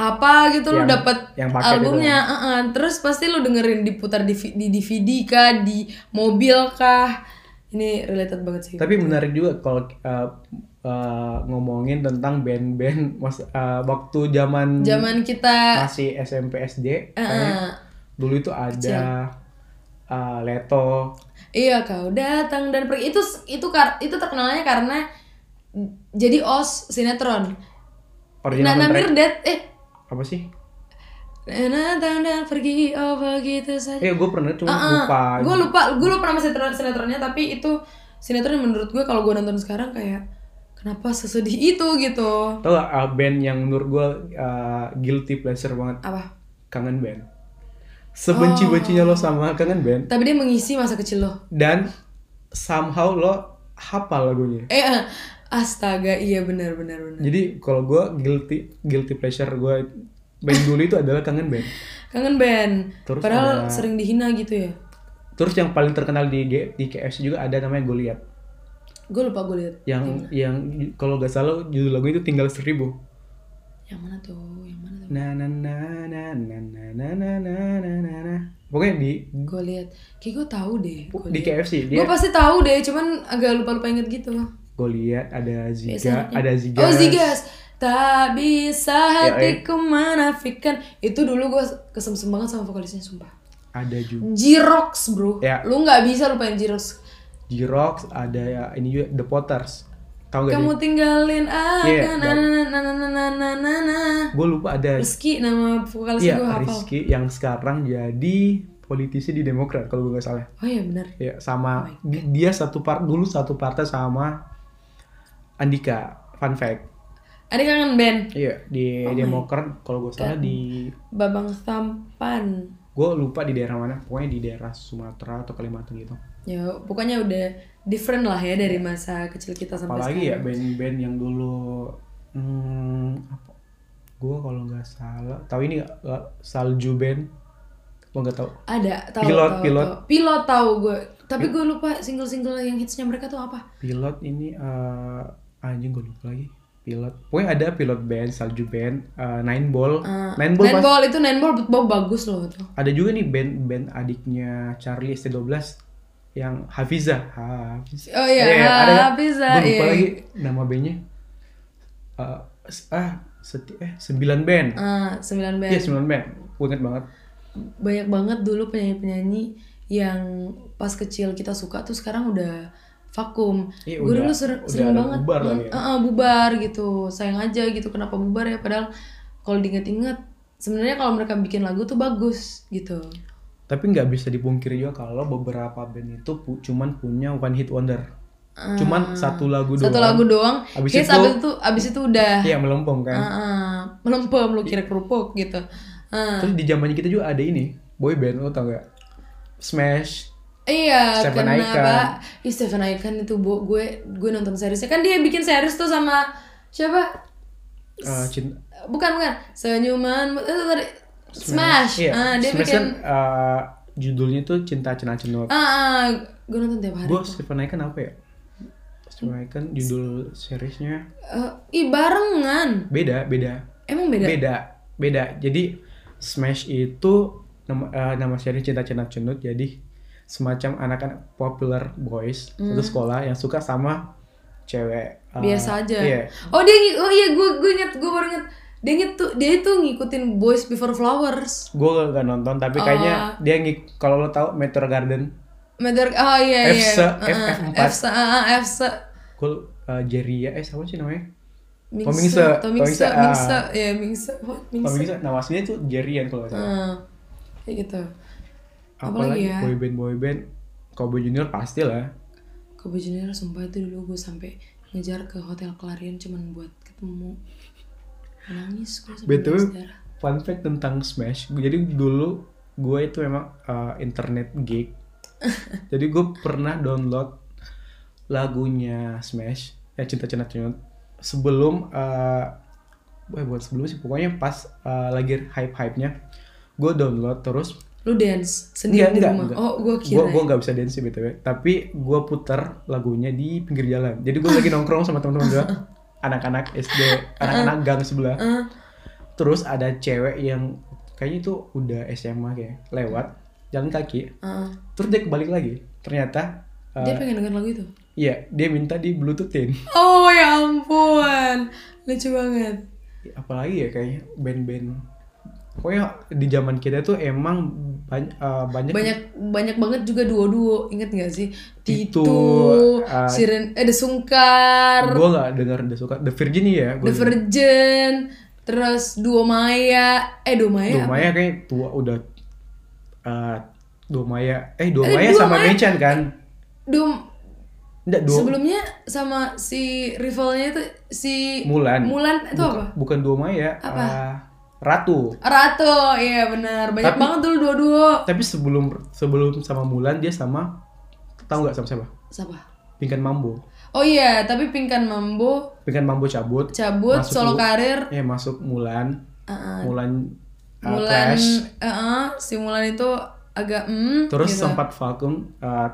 [SPEAKER 2] apa gitu lu
[SPEAKER 1] Yang-
[SPEAKER 2] dapat
[SPEAKER 1] yang paket kan?
[SPEAKER 2] albumnya, eh, eh. terus pasti lu dengerin diputar di, vi- di DVD kah, di mobil kah. Ini related banget sih.
[SPEAKER 1] tapi menarik juga kalau eh, eh, ngomongin tentang band-band mas eh, waktu zaman
[SPEAKER 2] Zaman kita
[SPEAKER 1] masih SMP SD
[SPEAKER 2] eh,
[SPEAKER 1] kayaknya
[SPEAKER 2] eh.
[SPEAKER 1] dulu itu ada eh, Leto
[SPEAKER 2] Iya kau datang dan pergi itu itu kar- itu terkenalnya karena jadi os sinetron.
[SPEAKER 1] original
[SPEAKER 2] Nana
[SPEAKER 1] soundtrack-
[SPEAKER 2] Mirdad eh
[SPEAKER 1] apa sih?
[SPEAKER 2] Nana datang dan pergi oh begitu saja.
[SPEAKER 1] Eh gue pernah cuma lupa gitu.
[SPEAKER 2] gue lupa gue lupa nama sinetron sinetronnya tapi itu sinetron yang menurut gue kalau gue nonton sekarang kayak kenapa sesedih itu gitu
[SPEAKER 1] Tau gak uh, band yang menurut gue uh, guilty pleasure banget
[SPEAKER 2] apa
[SPEAKER 1] Kangen Band Sebenci-bencinya
[SPEAKER 2] Oh.
[SPEAKER 1] lo sama Kangen Band
[SPEAKER 2] tapi dia mengisi masa kecil lo
[SPEAKER 1] Dan somehow lo hafal lagunya
[SPEAKER 2] eh eh, astaga iya benar benar benar
[SPEAKER 1] Jadi kalau gue guilty guilty pleasure gue band dulu itu adalah Kangen Band
[SPEAKER 2] kangen band
[SPEAKER 1] Terus
[SPEAKER 2] padahal sering dihina gitu ya
[SPEAKER 1] Terus yang paling terkenal di, G- di KFC juga ada namanya Goliath
[SPEAKER 2] gue lupa gue lihat
[SPEAKER 1] Yang yang ju- kalau gak salah judul lagu itu Tinggal Seribu
[SPEAKER 2] yang mana tuh yang mana tuh
[SPEAKER 1] Na na na na na na na na na na na na Pokoknya di
[SPEAKER 2] gue lihat kayak gue tahu deh
[SPEAKER 1] Oh, di KFC dia
[SPEAKER 2] gue pasti tahu deh cuman agak lupa lupa inget gitu
[SPEAKER 1] gue lihat ada Ziga, ada eh. Ziga.
[SPEAKER 2] Iya, Oh Zigas Tak bisa hatiku menafikan Itu dulu gue kesemsem banget sama vokalisnya sumpah
[SPEAKER 1] ada juga
[SPEAKER 2] Jirox bro
[SPEAKER 1] Ya.
[SPEAKER 2] Lu gak bisa lupain Jirox
[SPEAKER 1] Jirox, ada ya, ini juga The Potters. Tahu gak?
[SPEAKER 2] Kamu tinggalin aku
[SPEAKER 1] Iya,
[SPEAKER 2] na, na, na, na, na, na, na, na, na.
[SPEAKER 1] Gue lupa ada
[SPEAKER 2] Meski nama
[SPEAKER 1] Iya,
[SPEAKER 2] vokalisnya gue hafal
[SPEAKER 1] Rizky yang sekarang jadi politisi di Demokrat kalau gue nggak salah.
[SPEAKER 2] Oh iya bener
[SPEAKER 1] Ya, sama di- dia satu part dulu satu partai sama Andika. Fun fact.
[SPEAKER 2] Ada kangen band
[SPEAKER 1] Iya, di
[SPEAKER 2] Oh
[SPEAKER 1] Demokrat kalau gue salah di
[SPEAKER 2] Babang Sampan
[SPEAKER 1] gue lupa di daerah mana, pokoknya di daerah Sumatera atau Kalimantan gitu.
[SPEAKER 2] Ya pokoknya udah different lah ya dari masa kecil kita
[SPEAKER 1] Iya.
[SPEAKER 2] sampai
[SPEAKER 1] apalagi ya band-band yang dulu hmm, apa gue kalau nggak salah tahu ini nggak? Eh, salju band lo nggak tahu
[SPEAKER 2] Ada, tahu
[SPEAKER 1] Pilot,
[SPEAKER 2] tahu,
[SPEAKER 1] pilot.
[SPEAKER 2] tahu. Pilot tahu gue. Tapi gue lupa single-single yang hitsnya mereka tuh apa.
[SPEAKER 1] pilot ini eh, anjing gue lupa lagi pilot pokoknya ada pilot band salju band eh, nine ball
[SPEAKER 2] Eh,
[SPEAKER 1] nine ball, pas-
[SPEAKER 2] Ball itu nine ball bau bagus loh tuh.
[SPEAKER 1] ada juga nih band-band adiknya Charlie ST12 yang Hafiza Hafiza
[SPEAKER 2] Oh iya,
[SPEAKER 1] Eh, ada- gua
[SPEAKER 2] Hafiza,
[SPEAKER 1] lupa
[SPEAKER 2] iya.
[SPEAKER 1] lagi nama bandnya Eh, s- ah seti eh 9 band.
[SPEAKER 2] Ah, 9 band.
[SPEAKER 1] Iya, 9 band. Gue inget banget.
[SPEAKER 2] Banyak banget dulu penyanyi-penyanyi yang pas kecil kita suka tuh sekarang udah vakum.
[SPEAKER 1] Iya,
[SPEAKER 2] Gue
[SPEAKER 1] udah-
[SPEAKER 2] dulu ser-
[SPEAKER 1] udah
[SPEAKER 2] sering
[SPEAKER 1] ada
[SPEAKER 2] banget
[SPEAKER 1] bubar lah
[SPEAKER 2] nont-
[SPEAKER 1] ya.
[SPEAKER 2] Ah, ah, bubar gitu. Sayang aja gitu kenapa bubar ya padahal kalau diinget-inget sebenarnya kalau mereka bikin lagu tuh bagus gitu.
[SPEAKER 1] Tapi nggak bisa dipungkiri juga kalau beberapa band itu pu- cuman punya one hit wonder.
[SPEAKER 2] Ah.
[SPEAKER 1] Cuman satu lagu
[SPEAKER 2] Satu
[SPEAKER 1] doang.
[SPEAKER 2] lagu doang.
[SPEAKER 1] Abis itu-
[SPEAKER 2] hits, abis itu abis itu udah
[SPEAKER 1] Iya, melempem kan.
[SPEAKER 2] Ah, ah. melempem lu kira kerupuk gitu. Ah.
[SPEAKER 1] Terus di zamannya kita juga ada ini, boy band lo tau gak? Smash.
[SPEAKER 2] Iya,
[SPEAKER 1] Stephen
[SPEAKER 2] kenapa?
[SPEAKER 1] Icon.
[SPEAKER 2] Ih, Stephen Icon itu bo, gue gue nonton seriesnya kan dia bikin series tuh sama siapa?
[SPEAKER 1] eh, cinta,
[SPEAKER 2] Bukan bukan, senyuman itu tadi Smash.
[SPEAKER 1] Iya,
[SPEAKER 2] Ah, dia
[SPEAKER 1] Smash
[SPEAKER 2] bikin
[SPEAKER 1] kan eh, judulnya tuh Cinta Cina Cenut.
[SPEAKER 2] ah, ah, gue nonton tiap hari.
[SPEAKER 1] Gue Stephen Icon apa ya? Stephen Icon judul seriesnya
[SPEAKER 2] Eh, ih, barengan.
[SPEAKER 1] beda, beda,
[SPEAKER 2] Emang beda?
[SPEAKER 1] beda, beda. Jadi Smash itu nama, eh, nama series Cinta Cina Cenut. Jadi semacam anak-anak popular boys satu sekolah yang suka sama cewek. eh,
[SPEAKER 2] Hmm. Biasa aja.
[SPEAKER 1] Iya.
[SPEAKER 2] Oh, dia ngi- oh iya gue gue inget, gue baru inget. Dia ngi- tuh dia itu ngikutin Boys Before Flowers.
[SPEAKER 1] Gue gak nonton tapi kayaknya
[SPEAKER 2] Oh.
[SPEAKER 1] dia ngik kalau lo tau Meteor Garden
[SPEAKER 2] Mother, oh iya iya.
[SPEAKER 1] Efse,
[SPEAKER 2] Ah, ah,
[SPEAKER 1] FF4.
[SPEAKER 2] Efse, ah, ah, Efse.
[SPEAKER 1] Cool eh, Jeria eh siapa sih namanya?
[SPEAKER 2] Mingse,
[SPEAKER 1] Mingse,
[SPEAKER 2] Tomingse,
[SPEAKER 1] Tomingse, ah. Oh,
[SPEAKER 2] Mingse, ya Mingse, What? Mingse.
[SPEAKER 1] Kalau bisa nama aslinya itu Jerian kalau nggak salah.
[SPEAKER 2] Hmm, kayak gitu apalagi
[SPEAKER 1] Apalagi
[SPEAKER 2] ya?
[SPEAKER 1] boyband boyband Cowboy Junior pasti lah.
[SPEAKER 2] ke Bojonegoro sumpah itu dulu gue sampai ngejar ke hotel Clarion cuman buat ketemu nangis gue sampai
[SPEAKER 1] BTW.
[SPEAKER 2] nangis darah.
[SPEAKER 1] Fun fact tentang Smash. Jadi dulu gue itu emang uh, internet geek. Jadi gue pernah download lagunya Smash ya cinta cinta cinta sebelum eh eh, buat sebelum sih pokoknya pas eh, lagi hype hype nya gue download terus
[SPEAKER 2] lu
[SPEAKER 1] Enggak,
[SPEAKER 2] dance sendiri di
[SPEAKER 1] Iya, enggak,
[SPEAKER 2] rumah
[SPEAKER 1] enggak.
[SPEAKER 2] oh gue kira
[SPEAKER 1] Gua gua nggak bisa dance sih btw. Tapi gua puter lagunya di pinggir jalan. Jadi gua lagi nongkrong sama teman-teman gua, anak-anak SD, anak-anak gang sebelah.
[SPEAKER 2] Ah.
[SPEAKER 1] Terus ada cewek yang kayaknya itu udah SMA kayak lewat jalan kaki.
[SPEAKER 2] Ah,
[SPEAKER 1] Terus dia kebalik lagi. Ternyata eh,
[SPEAKER 2] dia pengen denger lagu itu
[SPEAKER 1] iya, dia minta di bluetoothin.
[SPEAKER 2] oh ya ampun lucu banget
[SPEAKER 1] Apalagi ya kayaknya band-band Pokoknya di zaman kita tuh emang banyak eh, banyak,
[SPEAKER 2] banyak banyak banget juga duo-duo inget gak sih Tito,
[SPEAKER 1] Tito, ah.
[SPEAKER 2] Siren eh The Sungkar
[SPEAKER 1] gua nggak dengar udah suka The Virgin ya
[SPEAKER 2] The
[SPEAKER 1] gua
[SPEAKER 2] Virgin, terus Duo Maya, eh Duo Maya, apa?
[SPEAKER 1] Domaya kayak tua udah eh Domaya eh Domaya
[SPEAKER 2] Dua
[SPEAKER 1] sama
[SPEAKER 2] Maya.
[SPEAKER 1] Mechan kan
[SPEAKER 2] Duo
[SPEAKER 1] enggak dua
[SPEAKER 2] sebelumnya sama si rivalnya itu si
[SPEAKER 1] Mulan
[SPEAKER 2] Mulan itu
[SPEAKER 1] bukan,
[SPEAKER 2] apa?
[SPEAKER 1] bukan Domaya
[SPEAKER 2] Apa?
[SPEAKER 1] eh, Ratu
[SPEAKER 2] Ratu, iya benar. Banyak
[SPEAKER 1] Tapi-
[SPEAKER 2] banget dulu duo-duo.
[SPEAKER 1] tapi sebelum sebelum sama Mulan dia sama tahu nggak sama siapa
[SPEAKER 2] Siapa?
[SPEAKER 1] Pinkan Mambo
[SPEAKER 2] Oh iya, tapi Pinkan Mambo
[SPEAKER 1] Pinkan Mambo cabut
[SPEAKER 2] cabut
[SPEAKER 1] Masuk
[SPEAKER 2] solo
[SPEAKER 1] dulu.
[SPEAKER 2] karir.
[SPEAKER 1] eh masuk Mulan
[SPEAKER 2] Ah, ah.
[SPEAKER 1] Mulan eh,
[SPEAKER 2] Mulan,
[SPEAKER 1] Clash.
[SPEAKER 2] ah, ah, si Mulan itu agak hmm.
[SPEAKER 1] terus
[SPEAKER 2] gitu.
[SPEAKER 1] sempat vakum eh,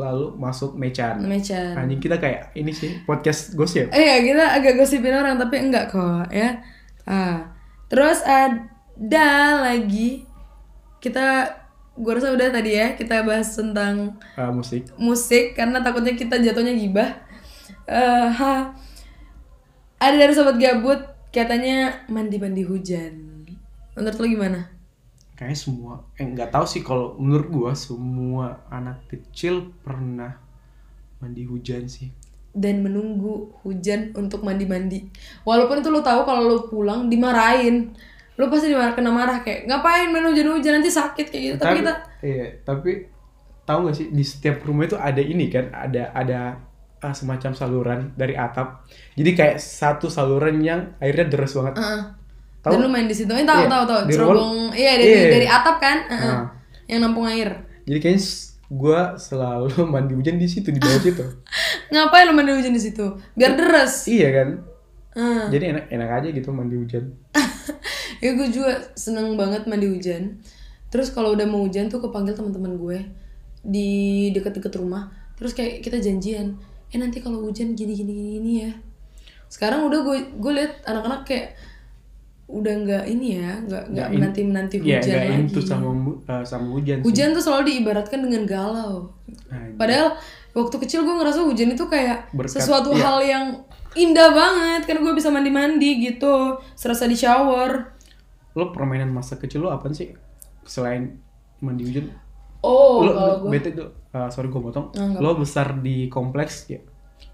[SPEAKER 1] lalu masuk Mechan
[SPEAKER 2] Mechan.
[SPEAKER 1] anjing kita kayak ini sih podcast gosip
[SPEAKER 2] Eh ya kita agak gosipin orang tapi enggak kok ya. Ah. Terus ada lagi kita gua rasa udah tadi ya kita bahas tentang
[SPEAKER 1] eh, musik
[SPEAKER 2] musik karena takutnya kita jatuhnya gibah. Eh, ha. Ada dari sobat gabut katanya mandi-mandi hujan. Menurut lo gimana?
[SPEAKER 1] kayaknya semua eh nggak tahu sih kalau menurut gua semua anak kecil pernah mandi hujan sih
[SPEAKER 2] Dan menunggu hujan untuk mandi-mandi. Walaupun itu lo tahu kalau lo pulang dimarahin. Lo pasti dimarah kena marah kayak ngapain main hujan-hujan nanti sakit kayak gitu. Tapi, kita
[SPEAKER 1] iya tapi tahu nggak sih di setiap rumah itu ada ini kan ada ada ah, semacam saluran dari atap jadi kayak satu saluran yang airnya deres banget
[SPEAKER 2] Heeh.
[SPEAKER 1] Tahu?
[SPEAKER 2] Ah, Dan lu main di situ. Eh, tahu
[SPEAKER 1] Iya,
[SPEAKER 2] tahu tahu.
[SPEAKER 1] di
[SPEAKER 2] Cerobong.
[SPEAKER 1] rumah-
[SPEAKER 2] Iya dari
[SPEAKER 1] Iya.
[SPEAKER 2] dari atap kan. Heeh.
[SPEAKER 1] Nah.
[SPEAKER 2] Yang nampung air.
[SPEAKER 1] jadi kayaknya s- gua selalu mandi hujan di situ di bawah situ
[SPEAKER 2] Ngapain lu mandi hujan di situ? Biar deres.
[SPEAKER 1] iya kan
[SPEAKER 2] Heeh.
[SPEAKER 1] jadi enak enak aja gitu mandi hujan
[SPEAKER 2] ya gue juga seneng banget mandi hujan. Terus kalau udah mau hujan tuh kepanggil teman-teman gue di deket-deket rumah. Terus kayak kita janjian. Eh nanti kalau hujan gini gini gini, gini ya. Sekarang udah gue gue lihat anak-anak kayak udah nggak ini ya, nggak nggak
[SPEAKER 1] in-
[SPEAKER 2] menanti menanti
[SPEAKER 1] iya
[SPEAKER 2] hujan
[SPEAKER 1] nggak
[SPEAKER 2] lagi.
[SPEAKER 1] intu sama mu- eh, sama hujan sih.
[SPEAKER 2] Hujan tuh selalu diibaratkan dengan galau.
[SPEAKER 1] Nah,
[SPEAKER 2] Padahal waktu kecil gue ngerasa hujan itu kayak
[SPEAKER 1] Berkat,
[SPEAKER 2] sesuatu
[SPEAKER 1] iya.
[SPEAKER 2] hal yang indah banget karena gue bisa mandi-mandi gitu serasa di shower
[SPEAKER 1] Lo permainan masa kecil lo apa sih? Selain mandi hujan.
[SPEAKER 2] oh
[SPEAKER 1] lo
[SPEAKER 2] kalau gue
[SPEAKER 1] bete tuh, eh, sorry gue potong.
[SPEAKER 2] Oh, nggak
[SPEAKER 1] lo besar di kompleks ya?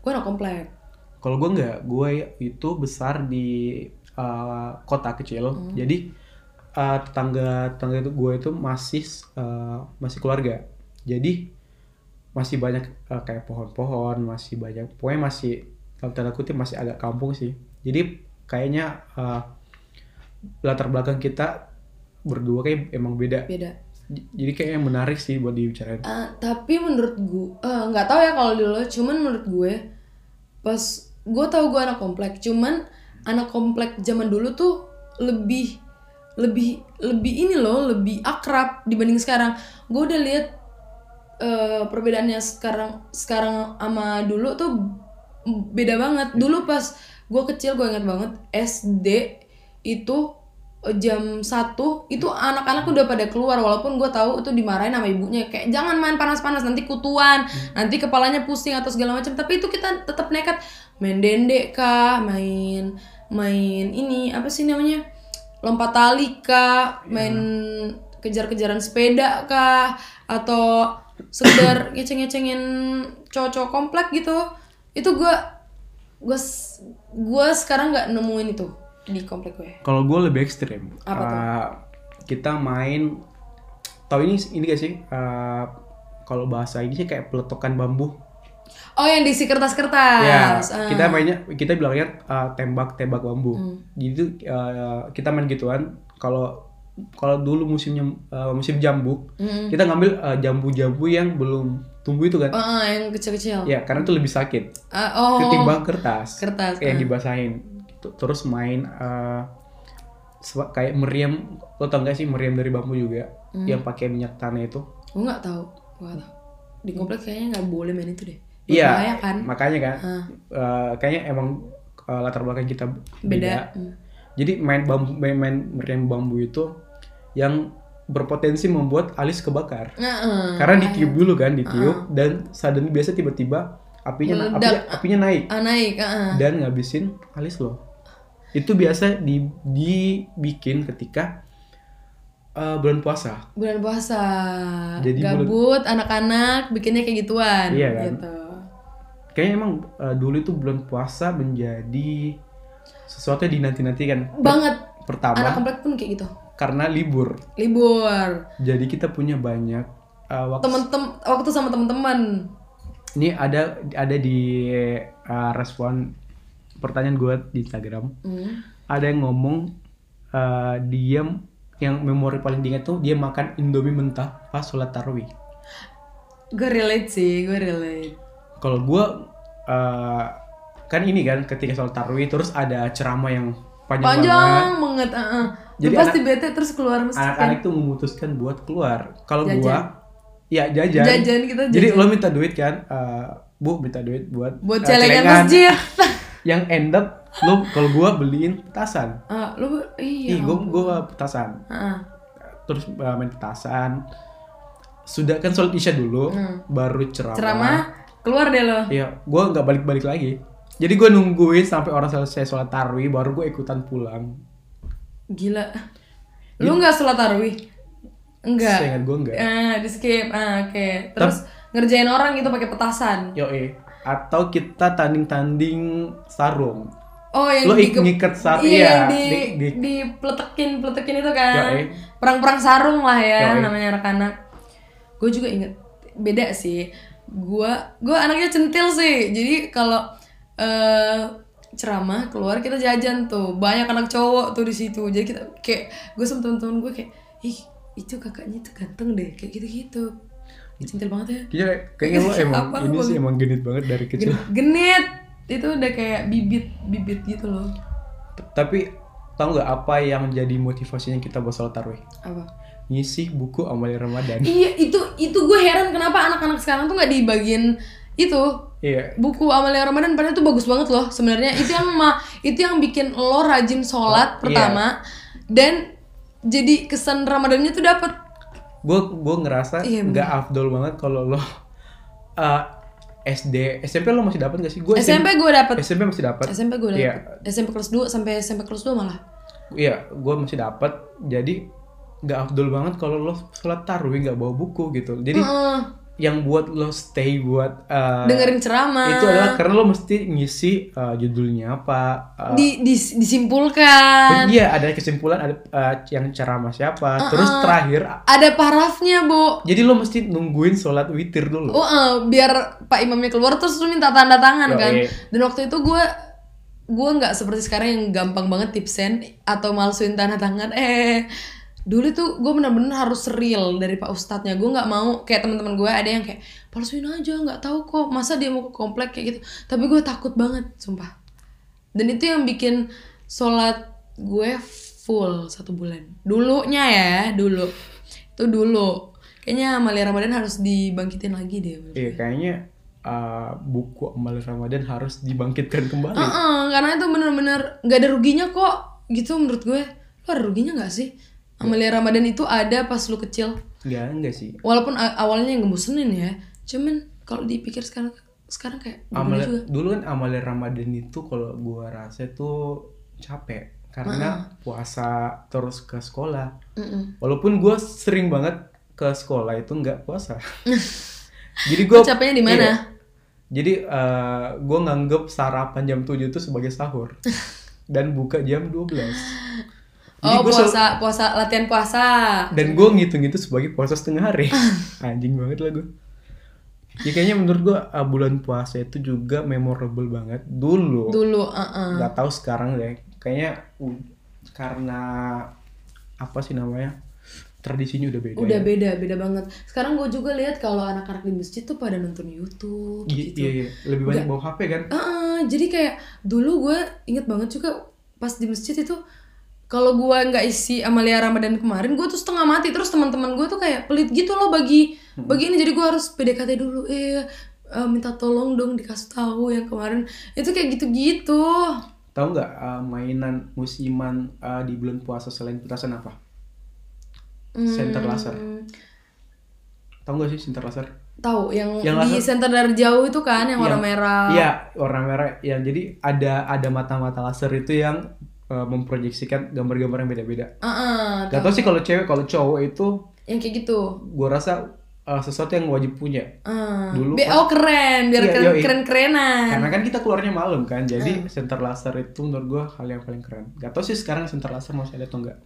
[SPEAKER 2] gue anak komplek
[SPEAKER 1] Kalau gue nggak, gue itu besar di eh, kota kecil. Jadi eh, tetangga tetangga itu gue itu masih eh, masih keluarga. Jadi masih banyak eh, kayak pohon-pohon, masih banyak. Pokoknya masih kalau tanda kutip masih agak kampung sih. Jadi kayaknya eh, latar belakang kita berdua kayak emang beda.
[SPEAKER 2] beda
[SPEAKER 1] J- Jadi kayaknya menarik sih buat dibicarain.
[SPEAKER 2] Eh, tapi menurut gue eh, nggak tahu ya kalau dulu cuman menurut gue pas gue tahu gue anak komplek cuman anak komplek zaman dulu tuh lebih lebih lebih ini loh lebih akrab dibanding sekarang gue udah lihat eh, perbedaannya sekarang sekarang sama dulu tuh beda banget dulu pas gue kecil gue ingat banget SD itu eh, jam 1 itu anak-anak udah pada keluar walaupun gue tahu itu dimarahin sama ibunya kayak jangan main panas-panas nanti kutuan nanti kepalanya pusing atau segala macam tapi itu kita tetap nekat main dendek kah main main ini apa sih namanya lompat tali kah main kejar-kejaran sepeda kah atau sekedar ngeceng-ngecengin cowok komplek gitu itu gue gue gue sekarang nggak nemuin itu di komplek gue
[SPEAKER 1] Kalau gue lebih ekstrim.
[SPEAKER 2] Apa tuh?
[SPEAKER 1] Eh, kita main, tau ini ini gak sih? Eh, kalau bahasa ini sih kayak peletokan bambu.
[SPEAKER 2] Oh yang diisi kertas-kertas.
[SPEAKER 1] ya,
[SPEAKER 2] Ah. Hmm.
[SPEAKER 1] kita mainnya kita bilangnya eh, tembak-tembak bambu. Jadi tuh, eh, kita main gituan. Kalau kalau dulu musimnya eh, musim jambu,
[SPEAKER 2] Mm.
[SPEAKER 1] kita ngambil eh, jambu-jambu yang belum tumbuh itu kan?
[SPEAKER 2] Oh, ah, yang kecil-kecil.
[SPEAKER 1] Ya, karena itu lebih sakit.
[SPEAKER 2] Ah, oh.
[SPEAKER 1] ketimbang kertas
[SPEAKER 2] Kertas, Ah.
[SPEAKER 1] yang dibasahin T- terus main eh, sewa- kayak meriam lo tau gak sih meriam dari bambu juga
[SPEAKER 2] Hmm.
[SPEAKER 1] yang pakai minyak tanah itu
[SPEAKER 2] Gue nggak tahu. Gue nggak tahu. Di komplek kayaknya nggak boleh main itu deh. Bahaya
[SPEAKER 1] iya
[SPEAKER 2] kan.
[SPEAKER 1] makanya kan
[SPEAKER 2] Ah.
[SPEAKER 1] Eh, kayaknya emang eh, latar belakang kita
[SPEAKER 2] Beda.
[SPEAKER 1] beda,
[SPEAKER 2] Hmm.
[SPEAKER 1] jadi main bambu main, main meriam bambu itu yang berpotensi membuat alis kebakar
[SPEAKER 2] Nah, eh.
[SPEAKER 1] karena ditiup dulu kan ditiup dan suddenly biasa tiba-tiba apinya na-
[SPEAKER 2] Hmm. Meledak.
[SPEAKER 1] apinya, apinya naik
[SPEAKER 2] Ah, naik. ah, ah.
[SPEAKER 1] dan ngabisin alis lo. Itu biasa di, dibikin ketika eh, bulan puasa.
[SPEAKER 2] Bulan puasa.
[SPEAKER 1] Jadi
[SPEAKER 2] Gabut, anak-anak bikinnya kayak gituan.
[SPEAKER 1] Iya kan?
[SPEAKER 2] Gitu.
[SPEAKER 1] Kayaknya emang eh, dulu itu bulan puasa menjadi sesuatu yang dinanti-nantikan.
[SPEAKER 2] Banget. Anak
[SPEAKER 1] Pertama
[SPEAKER 2] komplek pun kayak gitu.
[SPEAKER 1] karena libur.
[SPEAKER 2] Libur.
[SPEAKER 1] Jadi kita punya banyak eh, waktu.
[SPEAKER 2] Temen-temen waktu sama temen-temen.
[SPEAKER 1] Ini ada ada di eh, respon pertanyaan gue di Instagram.
[SPEAKER 2] Hmm.
[SPEAKER 1] Ada yang ngomong eh, diam yang memori paling diingat tuh dia makan indomie mentah pas sholat tarawih.
[SPEAKER 2] Gue relate sih, gue relate.
[SPEAKER 1] kalau gue kan ini kan ketika sholat tarawih terus ada ceramah yang panjang, banget
[SPEAKER 2] panjang banget ah, ah.
[SPEAKER 1] Jadi
[SPEAKER 2] Lu pasti bete terus keluar mesti
[SPEAKER 1] anak-anak tuh memutuskan buat keluar kalau
[SPEAKER 2] Jajan.
[SPEAKER 1] gua ya jajan.
[SPEAKER 2] jajan kita jajan.
[SPEAKER 1] jadi lo minta duit kan eh, bu minta duit buat eh,
[SPEAKER 2] buat celengan
[SPEAKER 1] celengan.
[SPEAKER 2] masjid
[SPEAKER 1] yang end up lo kalau gua beliin petasan
[SPEAKER 2] Ah, lu iya
[SPEAKER 1] ih gua gua petasan
[SPEAKER 2] Ah, ah.
[SPEAKER 1] terus eh, main petasan sudah kan sholat isya dulu
[SPEAKER 2] Hmm.
[SPEAKER 1] baru ceramah,
[SPEAKER 2] ceramah keluar deh lo
[SPEAKER 1] Iya, gue nggak balik-balik lagi. Jadi gue nungguin sampai orang selesai sholat tarwi, baru gue ikutan pulang.
[SPEAKER 2] gila lu
[SPEAKER 1] Iya.
[SPEAKER 2] nggak sholat tarawih enggak
[SPEAKER 1] Seingat gue nggak.
[SPEAKER 2] ah di skip ah, oke terus ngerjain orang gitu pakai petasan
[SPEAKER 1] Yo Atau kita tanding-tanding sarung.
[SPEAKER 2] oh yang
[SPEAKER 1] Lo
[SPEAKER 2] di
[SPEAKER 1] ik- ngikat sarung,
[SPEAKER 2] iya,
[SPEAKER 1] iya,
[SPEAKER 2] yang di,
[SPEAKER 1] di- di-
[SPEAKER 2] dipeletekin peletekin itu kan
[SPEAKER 1] Yoi.
[SPEAKER 2] perang-perang sarung lah ya
[SPEAKER 1] Yoi.
[SPEAKER 2] namanya anak-anak gue juga inget beda sih gue gue anaknya centil sih jadi kalau eh, ceramah keluar kita jajan tuh banyak anak cowok tuh di situ jadi kita kayak gue sama temen-temen gue kayak ih itu kakaknya tuh ganteng deh kayak gitu-gitu Ih, centil banget ya
[SPEAKER 1] Kayaknya, Iya, kayaknya lo emang
[SPEAKER 2] Apa
[SPEAKER 1] ini
[SPEAKER 2] gua
[SPEAKER 1] sih emang genit banget dari kecil.
[SPEAKER 2] Gen- genit itu udah kayak bibit bibit gitu loh
[SPEAKER 1] T- Tapi tau nggak apa yang jadi motivasinya kita buat sholat tarwi?
[SPEAKER 2] apa
[SPEAKER 1] Ngisi buku amal Ramadan.
[SPEAKER 2] Iya itu itu gue heran kenapa anak-anak sekarang tuh nggak dibagiin itu
[SPEAKER 1] Iya.
[SPEAKER 2] buku Amalia Ramadan padahal itu bagus banget loh sebenarnya itu yang ma itu yang bikin lo rajin
[SPEAKER 1] Oh,
[SPEAKER 2] sholat
[SPEAKER 1] iya.
[SPEAKER 2] pertama dan jadi kesan Ramadannya tuh dapet
[SPEAKER 1] Gue gue ngerasa
[SPEAKER 2] Iya, bener.
[SPEAKER 1] nggak afdol banget kalau lo eh, SD SMP lo masih dapat gak sih gue
[SPEAKER 2] SMP gue dapet
[SPEAKER 1] SMP masih dapat
[SPEAKER 2] SMP gue dapet
[SPEAKER 1] Iya.
[SPEAKER 2] SMP kelas 2 sampai SMP kelas 2 malah
[SPEAKER 1] iya gue masih dapat jadi nggak afdol banget kalau lo sholat tarawih nggak bawa buku gitu jadi
[SPEAKER 2] Heeh.
[SPEAKER 1] yang buat lo stay buat eh,
[SPEAKER 2] Hmm. dengerin eh. ceramah
[SPEAKER 1] itu adalah karena lo mesti ngisi eh, judulnya apa eh,
[SPEAKER 2] di, dis- disimpulkan
[SPEAKER 1] Iya, ada kesimpulan ada uh, yang ceramah siapa.
[SPEAKER 2] Ah,
[SPEAKER 1] Terus terakhir
[SPEAKER 2] ada parafnya bu
[SPEAKER 1] jadi lo mesti nungguin sholat witir dulu.
[SPEAKER 2] Oh, eh, biar Pak Imamnya keluar terus lu minta tanda tangan
[SPEAKER 1] Yo,
[SPEAKER 2] kan.
[SPEAKER 1] iya.
[SPEAKER 2] Dan waktu itu gue gue nggak seperti sekarang yang gampang banget tipsen atau malsuin tanda tangan. Eh, dulu tuh gue bener-bener harus real dari Pak Ustadznya. Gue nggak mau kayak teman-teman gue ada yang kayak palsuin aja nggak tahu kok. Masa dia mau ke komplek kayak gitu. Tapi gue takut banget, sumpah. Dan itu yang bikin sholat gue full satu bulan. Dulunya ya, dulu. Itu dulu. Kayaknya amalia Ramadan harus dibangkitin lagi deh.
[SPEAKER 1] Iya, kayaknya uh, buku amal Ramadan harus dibangkitkan kembali.
[SPEAKER 2] Heeh, karena itu bener-bener gak ada ruginya kok. Gitu menurut gue. Lo ada ruginya gak sih? Amalia Ramadan itu ada pas lu kecil.
[SPEAKER 1] Enggak, enggak sih.
[SPEAKER 2] Walaupun a- awalnya yang ngebosenin ya. Cuman kalau dipikir sekarang sekarang kayak
[SPEAKER 1] Amal
[SPEAKER 2] bener juga.
[SPEAKER 1] dulu kan amal Ramadan itu kalau gua rasa tuh capek karena puasa terus ke sekolah.
[SPEAKER 2] Mm-mm.
[SPEAKER 1] Walaupun gua sering banget ke sekolah itu nggak puasa. jadi gua
[SPEAKER 2] Lo capeknya di mana?
[SPEAKER 1] Iya. Jadi eh, gua nganggep sarapan jam 7 itu sebagai sahur. dan buka jam 12. Jadi
[SPEAKER 2] Oh
[SPEAKER 1] gua sel-
[SPEAKER 2] puasa, puasa, latihan puasa.
[SPEAKER 1] dan gue ngitung itu sebagai puasa setengah hari. Anjing banget lah gue. Ya kayaknya menurut gue bulan puasa itu juga memorable banget dulu.
[SPEAKER 2] Dulu, heeh.
[SPEAKER 1] Gak tahu sekarang deh. Kayaknya u- karena apa sih namanya? Tradisinya udah beda.
[SPEAKER 2] Udah
[SPEAKER 1] ya.
[SPEAKER 2] beda, beda banget. Sekarang gue juga lihat kalau anak-anak di masjid tuh pada nonton YouTube
[SPEAKER 1] Iya,
[SPEAKER 2] gitu.
[SPEAKER 1] iya, iya. lebih banyak bawa HP kan?
[SPEAKER 2] Heeh, jadi kayak dulu gue inget banget juga pas di masjid itu kalau gue nggak isi Amalia Ramadan kemarin gue tuh setengah mati terus teman-teman gue tuh kayak pelit gitu loh bagi bagi ini jadi gue harus PDKT dulu eh eh, minta tolong dong dikasih tahu yang kemarin itu kayak gitu-gitu
[SPEAKER 1] Tahu nggak uh, mainan musiman uh, di bulan puasa selain petasan apa? Senter laser.
[SPEAKER 2] Hmm,
[SPEAKER 1] Tahu nggak sih senter laser?
[SPEAKER 2] tahu yang,
[SPEAKER 1] Yang
[SPEAKER 2] di
[SPEAKER 1] laser-
[SPEAKER 2] center dari jauh itu kan yang warna
[SPEAKER 1] Yang-
[SPEAKER 2] merah
[SPEAKER 1] Iya, warna merah. Ya, jadi ada ada mata-mata laser itu yang uh, memproyeksikan gambar-gambar yang beda-beda.
[SPEAKER 2] Heeh,
[SPEAKER 1] Gak tau sih kalau cewek, kalau cowok itu
[SPEAKER 2] yang kayak gitu
[SPEAKER 1] gue rasa uh, sesuatu yang wajib punya.
[SPEAKER 2] Ah,
[SPEAKER 1] Dulu
[SPEAKER 2] Be- oh keren, biar
[SPEAKER 1] Iya,
[SPEAKER 2] keren,
[SPEAKER 1] yoi.
[SPEAKER 2] keren kerenan.
[SPEAKER 1] Karena kan kita keluarnya malam kan,
[SPEAKER 2] Ah.
[SPEAKER 1] jadi senter laser itu menurut gue hal yang paling keren. Gak tau sih sekarang senter laser masih ada atau enggak.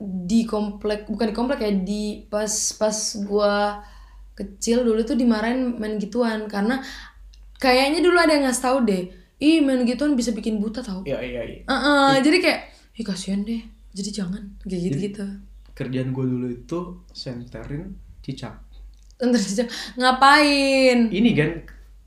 [SPEAKER 2] Di komplek, bukan di komplek ya, di pas pas gua kecil dulu tuh dimarahin main gituan karena kayaknya dulu ada yang ngasih tahu deh. Ih, main gituan bisa bikin buta tau.
[SPEAKER 1] Iya, iya, iya.
[SPEAKER 2] Ah, ah, jadi kayak, ih kasihan deh. Jadi jangan kayak gitu-gitu.
[SPEAKER 1] Kerjaan gue dulu itu senterin cicak.
[SPEAKER 2] Ntar aja, ngapain?
[SPEAKER 1] Ini kan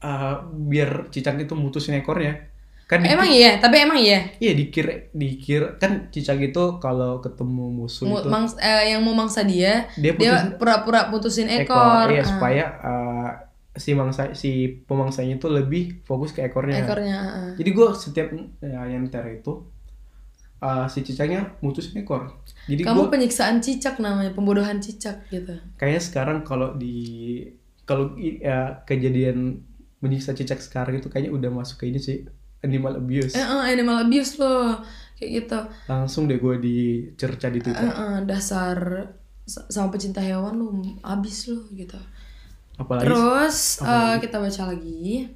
[SPEAKER 1] uh, biar cicak itu mutusin ekornya. Kan di-
[SPEAKER 2] Emang iya, tapi emang iya.
[SPEAKER 1] Iya dikir dikir kan cicak itu kalau ketemu musuh
[SPEAKER 2] Mu-
[SPEAKER 1] itu
[SPEAKER 2] mangs- eh, yang mau mangsa dia,
[SPEAKER 1] Dia
[SPEAKER 2] dia pura-pura putusin
[SPEAKER 1] ekor,
[SPEAKER 2] ekor.
[SPEAKER 1] iya
[SPEAKER 2] Ah,
[SPEAKER 1] supaya uh, si mangsa si pemangsanya itu lebih fokus ke ekornya.
[SPEAKER 2] ekornya. ah, ah.
[SPEAKER 1] Jadi gue setiap ya, yang ter itu uh, si cicaknya mutusin ekor. Jadi gue
[SPEAKER 2] Kamu penyiksaan cicak namanya, pembodohan cicak gitu.
[SPEAKER 1] kayaknya sekarang kalau di kalau i- ya, kejadian menyiksa cicak sekarang itu kayaknya udah masuk ke ini sih animal abuse.
[SPEAKER 2] Eh, eh, animal abuse loh. Kayak gitu.
[SPEAKER 1] Langsung deh gue dicerca di
[SPEAKER 2] Eh,
[SPEAKER 1] Twitter.
[SPEAKER 2] eh, dasar s- sama pecinta hewan lu abis lu gitu.
[SPEAKER 1] Apalagi
[SPEAKER 2] Terus eh, kita baca lagi.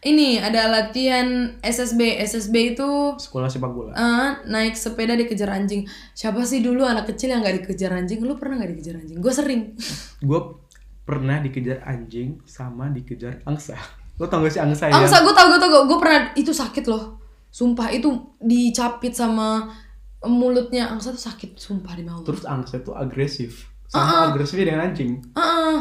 [SPEAKER 2] Ini ada latihan SSB. SSB itu
[SPEAKER 1] sekolah sepak bola.
[SPEAKER 2] eh, naik sepeda dikejar anjing. Siapa sih dulu anak kecil yang nggak dikejar anjing? Lu pernah nggak dikejar anjing? Gue sering.
[SPEAKER 1] gue pernah dikejar anjing sama dikejar angsa lo tau gak sih angsa ya
[SPEAKER 2] Angsa gue tau gue tau gue pernah itu sakit loh. Sumpah itu dicapit sama mulutnya angsa tuh sakit sumpah di Allah.
[SPEAKER 1] terus angsa itu agresif
[SPEAKER 2] Ah,
[SPEAKER 1] sama agresifnya dengan anjing
[SPEAKER 2] Heeh.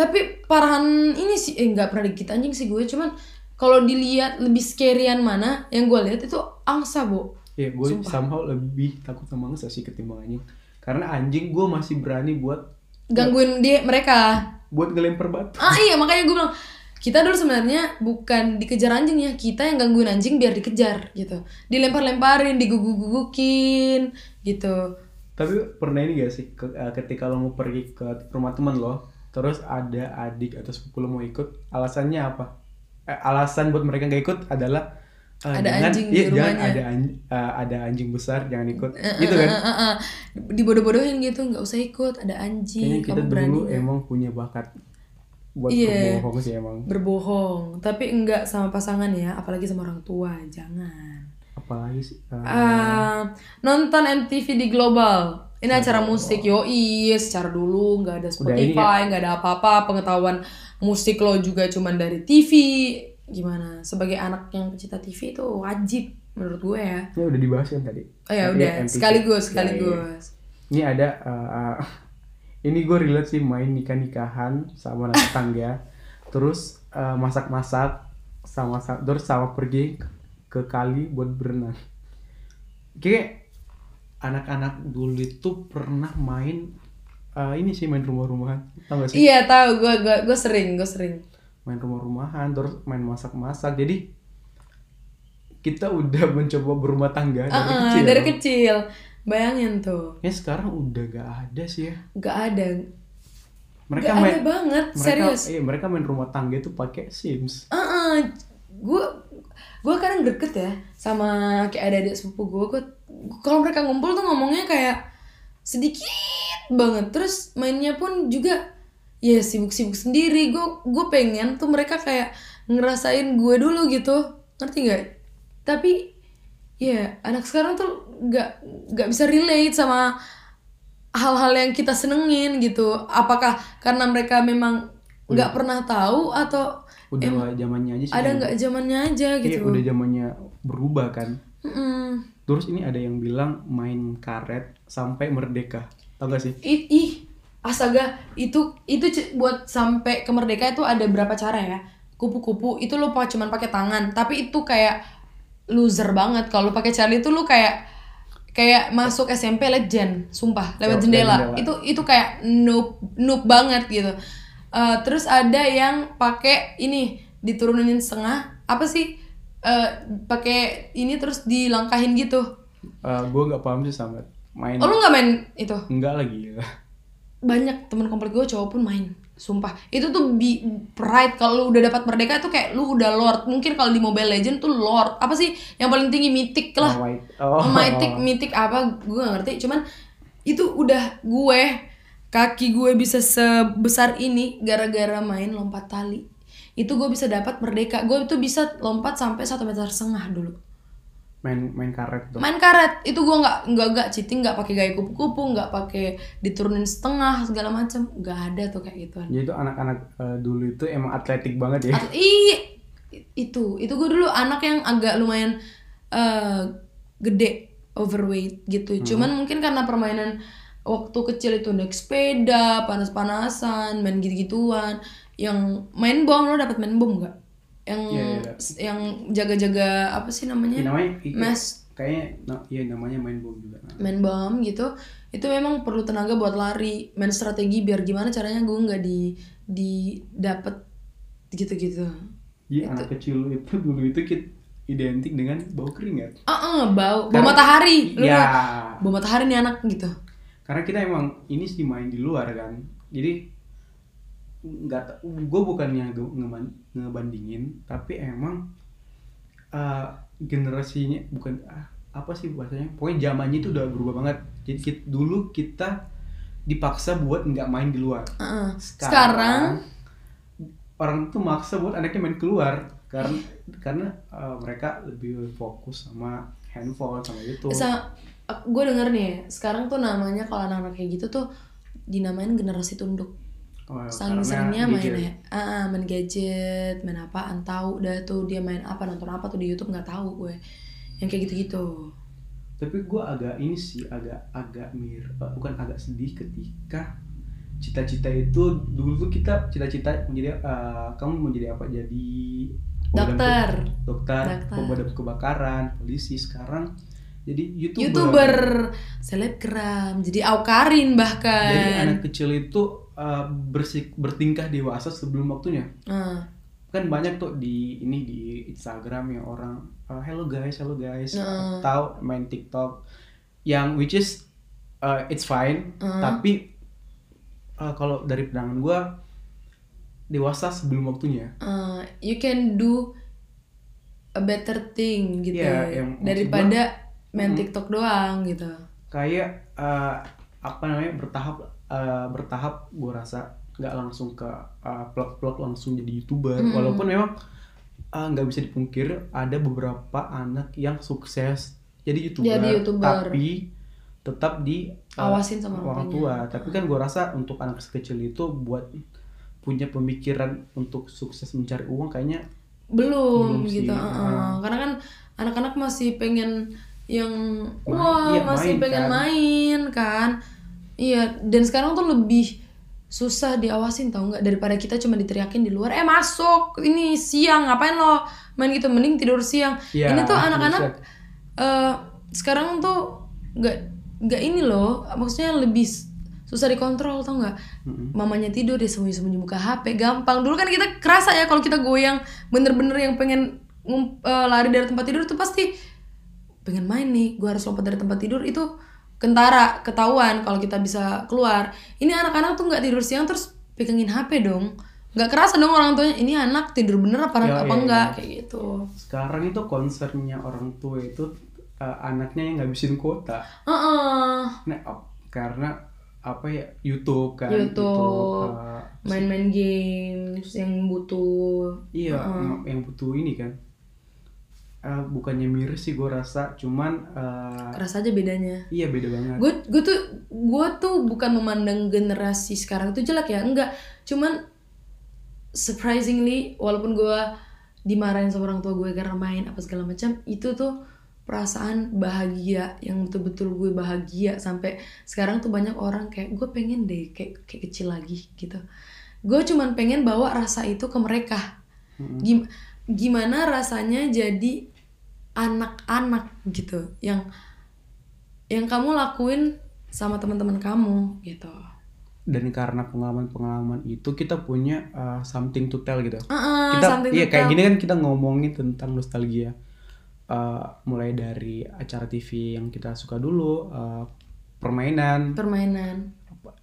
[SPEAKER 2] tapi parahan ini sih eh nggak pernah dikit anjing sih gue cuman kalau dilihat lebih scary-an mana yang gue lihat itu angsa bu
[SPEAKER 1] ya gue somehow lebih takut sama angsa sih ketimbang anjing karena anjing gue masih berani buat Iya.
[SPEAKER 2] gangguin dia mereka
[SPEAKER 1] buat ngelempar batu
[SPEAKER 2] ah iya makanya gue bilang kita dulu sebenarnya bukan dikejar anjing ya kita yang gangguin anjing biar dikejar gitu dilempar-lemparin diguguk-gugukin gitu
[SPEAKER 1] tapi pernah ini gak sih ke- eh, ketika lo mau pergi ke rumah teman lo terus ada adik atau sepupu lo mau ikut alasannya apa Eh, alasan buat mereka nggak ikut adalah eh,
[SPEAKER 2] Ada anjing di
[SPEAKER 1] iya, jangan
[SPEAKER 2] rumahnya.
[SPEAKER 1] ada anj- eh, ada anjing besar jangan ikut gitu kan
[SPEAKER 2] Eh, eh, eh. dibodoh-bodohin gitu nggak usah ikut ada anjing
[SPEAKER 1] kayaknya kita
[SPEAKER 2] kamu berani ya.
[SPEAKER 1] dulu emang punya bakat buat
[SPEAKER 2] Iya.
[SPEAKER 1] berbohong sih emang
[SPEAKER 2] berbohong tapi enggak sama pasangan ya apalagi sama orang tua jangan
[SPEAKER 1] apalagi sih eh,
[SPEAKER 2] Ah, nonton MTV di global ini acara musik yo iya secara dulu nggak ada
[SPEAKER 1] Udah ini ya?
[SPEAKER 2] Spotify nggak ada apa-apa pengetahuan musik lo juga cuman dari TV gimana sebagai anak yang pecinta TV itu wajib menurut gue ya
[SPEAKER 1] ini udah dibahas kan tadi
[SPEAKER 2] oh ya
[SPEAKER 1] Tadi
[SPEAKER 2] udah
[SPEAKER 1] MTV.
[SPEAKER 2] sekaligus
[SPEAKER 1] Ya, iya.
[SPEAKER 2] sekaligus
[SPEAKER 1] ini ada eh, eh, ini gue relate sih main nikah nikahan sama anak tetangga terus eh, masak-masak sama sa- terus sama pergi ke kali buat berenang kayak anak-anak dulu itu pernah main eh, ini sih main rumah-rumahan tau gak sih
[SPEAKER 2] iya tahu gue gue gue sering gue sering
[SPEAKER 1] main rumah-rumahan terus main masak-masak jadi kita udah mencoba berumah tangga dari
[SPEAKER 2] Ah, ah,
[SPEAKER 1] kecil
[SPEAKER 2] dari kecil bayangin tuh
[SPEAKER 1] ya sekarang udah gak ada sih ya
[SPEAKER 2] nggak ada
[SPEAKER 1] mereka
[SPEAKER 2] nggak
[SPEAKER 1] main
[SPEAKER 2] ada banget
[SPEAKER 1] mereka
[SPEAKER 2] serius
[SPEAKER 1] iya, mereka main rumah tangga itu pakai Sims
[SPEAKER 2] Ah, ah, gue gue kadang deket ya sama kayak ada adik sepupu gue gue kalau mereka ngumpul tuh ngomongnya kayak sedikit banget terus mainnya pun juga ya sibuk-sibuk sendiri gue gue pengen tuh mereka kayak ngerasain gue dulu gitu ngerti nggak tapi ya anak sekarang tuh nggak nggak bisa relate sama hal-hal yang kita senengin gitu apakah karena mereka memang nggak pernah tahu atau
[SPEAKER 1] udah nggak zamannya aja sih
[SPEAKER 2] ada
[SPEAKER 1] yang-
[SPEAKER 2] nggak zamannya aja
[SPEAKER 1] iya,
[SPEAKER 2] gitu
[SPEAKER 1] udah zamannya berubah kan
[SPEAKER 2] Mm-mm.
[SPEAKER 1] terus ini ada yang bilang main karet sampai merdeka tau gak sih
[SPEAKER 2] ih, ih, astaga itu itu c- buat sampai kemerdekaan itu ada berapa cara ya kupu-kupu itu lo pa- cuman pakai tangan tapi itu kayak loser banget kalau lo pakai Charlie itu lo kayak kayak masuk SMP legend sumpah lewat
[SPEAKER 1] Lewat
[SPEAKER 2] jendela.
[SPEAKER 1] jendela.
[SPEAKER 2] itu itu kayak noob noob banget gitu Eh, terus ada yang pakai ini diturunin setengah apa sih Eh, pakai ini terus dilangkahin gitu
[SPEAKER 1] gue Eh, nggak paham sih sama main
[SPEAKER 2] oh lo nggak main itu
[SPEAKER 1] enggak lagi
[SPEAKER 2] banyak teman komplek gue cowok pun main sumpah itu tuh bi pride kalau lu udah dapat merdeka itu kayak lu udah lord mungkin kalau di mobile legend tuh lord apa sih yang paling tinggi mythic lah
[SPEAKER 1] Oh, white- oh.
[SPEAKER 2] mythic mythic apa gue gak ngerti cuman itu udah gue kaki gue bisa sebesar ini gara-gara main lompat tali itu gue bisa dapat merdeka gue itu bisa lompat sampai satu meter setengah dulu
[SPEAKER 1] main main karet tuh
[SPEAKER 2] Gitu. main karet itu gue nggak nggak nggak cheating nggak pakai gaya kupu-kupu nggak pakai diturunin setengah segala macam nggak ada tuh kayak gituan
[SPEAKER 1] jadi tuh anak-anak eh, dulu itu emang atletik banget ya
[SPEAKER 2] Atau- Ih, itu itu gue dulu anak yang agak lumayan eh, gede overweight
[SPEAKER 1] Hmm.
[SPEAKER 2] gitu cuman mungkin karena permainan waktu kecil itu naik sepeda panas-panasan main gitu-gituan yang main bom lo dapat main bom nggak yang
[SPEAKER 1] Iya, iya,
[SPEAKER 2] yang jaga-jaga apa sih namanya
[SPEAKER 1] Ini namanya i-
[SPEAKER 2] Mas
[SPEAKER 1] kayaknya na- iya namanya main bom juga
[SPEAKER 2] main bom gitu itu memang perlu tenaga buat lari main strategi biar gimana caranya gue nggak di di dapet gitu-gitu
[SPEAKER 1] Iya anak kecil itu dulu itu kit- identik dengan bau keringat.
[SPEAKER 2] ah ah, bau bau matahari lu
[SPEAKER 1] Iya.
[SPEAKER 2] nggak- bau matahari nih anak gitu
[SPEAKER 1] Karena kita emang ini sih main di luar kan. Jadi nggak gue bukannya nge- ngeman- ngebandingin tapi emang eh, generasinya bukan ah, apa sih bahasanya pokoknya zamannya itu udah berubah banget jadi kit- dulu kita dipaksa buat nggak main di luar
[SPEAKER 2] Ah, ah. sekarang,
[SPEAKER 1] orang tuh maksa buat anaknya main keluar karena karena uh, mereka lebih fokus sama handphone sama eh, itu
[SPEAKER 2] sa- gue denger nih ya, sekarang tuh namanya kalau anak-anak kayak gitu tuh dinamain generasi tunduk
[SPEAKER 1] Oh,
[SPEAKER 2] saking
[SPEAKER 1] karena
[SPEAKER 2] seringnya main
[SPEAKER 1] gadget.
[SPEAKER 2] ya ah, ah, main gadget main apaan tahu udah tuh dia main apa nonton apa tuh di YouTube nggak tahu gue yang kayak gitu-gitu
[SPEAKER 1] tapi gue agak ini sih agak agak mir eh, bukan agak sedih ketika cita-cita itu dulu tuh kita cita-cita menjadi eh, kamu mau jadi apa jadi pemadam
[SPEAKER 2] Dokter.
[SPEAKER 1] ke- dokter
[SPEAKER 2] Dokter.
[SPEAKER 1] pemadam kebakaran polisi sekarang jadi youtuber,
[SPEAKER 2] youtuber, selebgram, jadi aukarin bahkan.
[SPEAKER 1] jadi anak kecil itu eh, bersik- bertingkah dewasa sebelum waktunya
[SPEAKER 2] Nah,
[SPEAKER 1] kan banyak tuh di ini di Instagram yang orang uh, hello guys hello guys
[SPEAKER 2] Nah.
[SPEAKER 1] atau main TikTok yang which is uh, it's fine
[SPEAKER 2] Mm.
[SPEAKER 1] tapi uh, kalau dari pandangan gua dewasa sebelum waktunya.
[SPEAKER 2] Uh, you can do a better thing gitu
[SPEAKER 1] Iya, yang maksud
[SPEAKER 2] daripada main TikTok doang gitu.
[SPEAKER 1] Kayak eh, apa namanya bertahap eh, bertahap gue rasa nggak langsung ke eh, plot-plot langsung jadi youtuber. Walaupun memang eh, nggak bisa dipungkir ada beberapa anak yang sukses jadi youtuber,
[SPEAKER 2] Jadi YouTuber.
[SPEAKER 1] tapi tetap di eh,
[SPEAKER 2] Awasin sama
[SPEAKER 1] orang
[SPEAKER 2] orang ya.
[SPEAKER 1] tua. Tapi kan gue rasa untuk anak sekecil itu buat punya pemikiran untuk sukses mencari uang kayaknya
[SPEAKER 2] Belum,
[SPEAKER 1] Belum sih,
[SPEAKER 2] gitu. uh-uh.
[SPEAKER 1] uh.
[SPEAKER 2] Karena kan anak-anak masih pengen yang
[SPEAKER 1] Main-
[SPEAKER 2] wah
[SPEAKER 1] iya,
[SPEAKER 2] masih
[SPEAKER 1] main
[SPEAKER 2] pengen
[SPEAKER 1] kan.
[SPEAKER 2] main kan. Iya, dan sekarang tuh lebih susah diawasin tau nggak daripada kita cuma diteriakin di luar eh masuk ini siang ngapain lo main gitu mending tidur siang
[SPEAKER 1] Ya,
[SPEAKER 2] ini tuh
[SPEAKER 1] harus
[SPEAKER 2] anak-anak
[SPEAKER 1] siap.
[SPEAKER 2] eh sekarang tuh nggak nggak ini loh maksudnya lebih s- susah dikontrol tau nggak mamanya tidur dia sembunyi-sembunyi buka HP gampang dulu kan kita kerasa ya kalau kita goyang bener-bener yang pengen ngum- eh, lari dari tempat tidur tuh pasti pengen main nih gua harus lompat dari tempat tidur itu kentara ketahuan kalau kita bisa keluar ini anak-anak tuh nggak tidur siang terus pegangin HP dong nggak kerasa dong orang tuanya ini anak tidur bener apa,
[SPEAKER 1] Ya, iya,
[SPEAKER 2] apa
[SPEAKER 1] iya.
[SPEAKER 2] enggak kayak gitu
[SPEAKER 1] sekarang itu concernnya orang tua itu eh, anaknya yang ngabisin kuota
[SPEAKER 2] Heeh.
[SPEAKER 1] nah, ap- karena apa ya YouTube kan
[SPEAKER 2] YouTube.
[SPEAKER 1] eh,
[SPEAKER 2] main-main games yang butuh
[SPEAKER 1] iya em- yang butuh ini kan Eh, bukannya miris sih gue rasa cuman eh,
[SPEAKER 2] keras aja bedanya
[SPEAKER 1] iya beda banget
[SPEAKER 2] gue gue tuh gue tuh bukan memandang generasi sekarang itu jelek ya enggak cuman surprisingly walaupun gue dimarahin sama orang tua gue karena main apa segala macam itu tuh perasaan bahagia yang betul-betul gue bahagia sampai sekarang tuh banyak orang kayak gue pengen deh kayak kayak kecil lagi gitu gue cuman pengen bawa rasa itu ke mereka Gim- gimana rasanya jadi anak-anak gitu yang yang kamu lakuin sama teman-teman kamu gitu.
[SPEAKER 1] dan karena pengalaman-pengalaman itu kita punya eh, something to tell gitu
[SPEAKER 2] Heeh,
[SPEAKER 1] kita
[SPEAKER 2] Ah, something
[SPEAKER 1] iya
[SPEAKER 2] to
[SPEAKER 1] kayak
[SPEAKER 2] tell.
[SPEAKER 1] gini kan kita ngomongin tentang nostalgia Eh, mulai dari acara TV yang kita suka dulu eh, permainan
[SPEAKER 2] permainan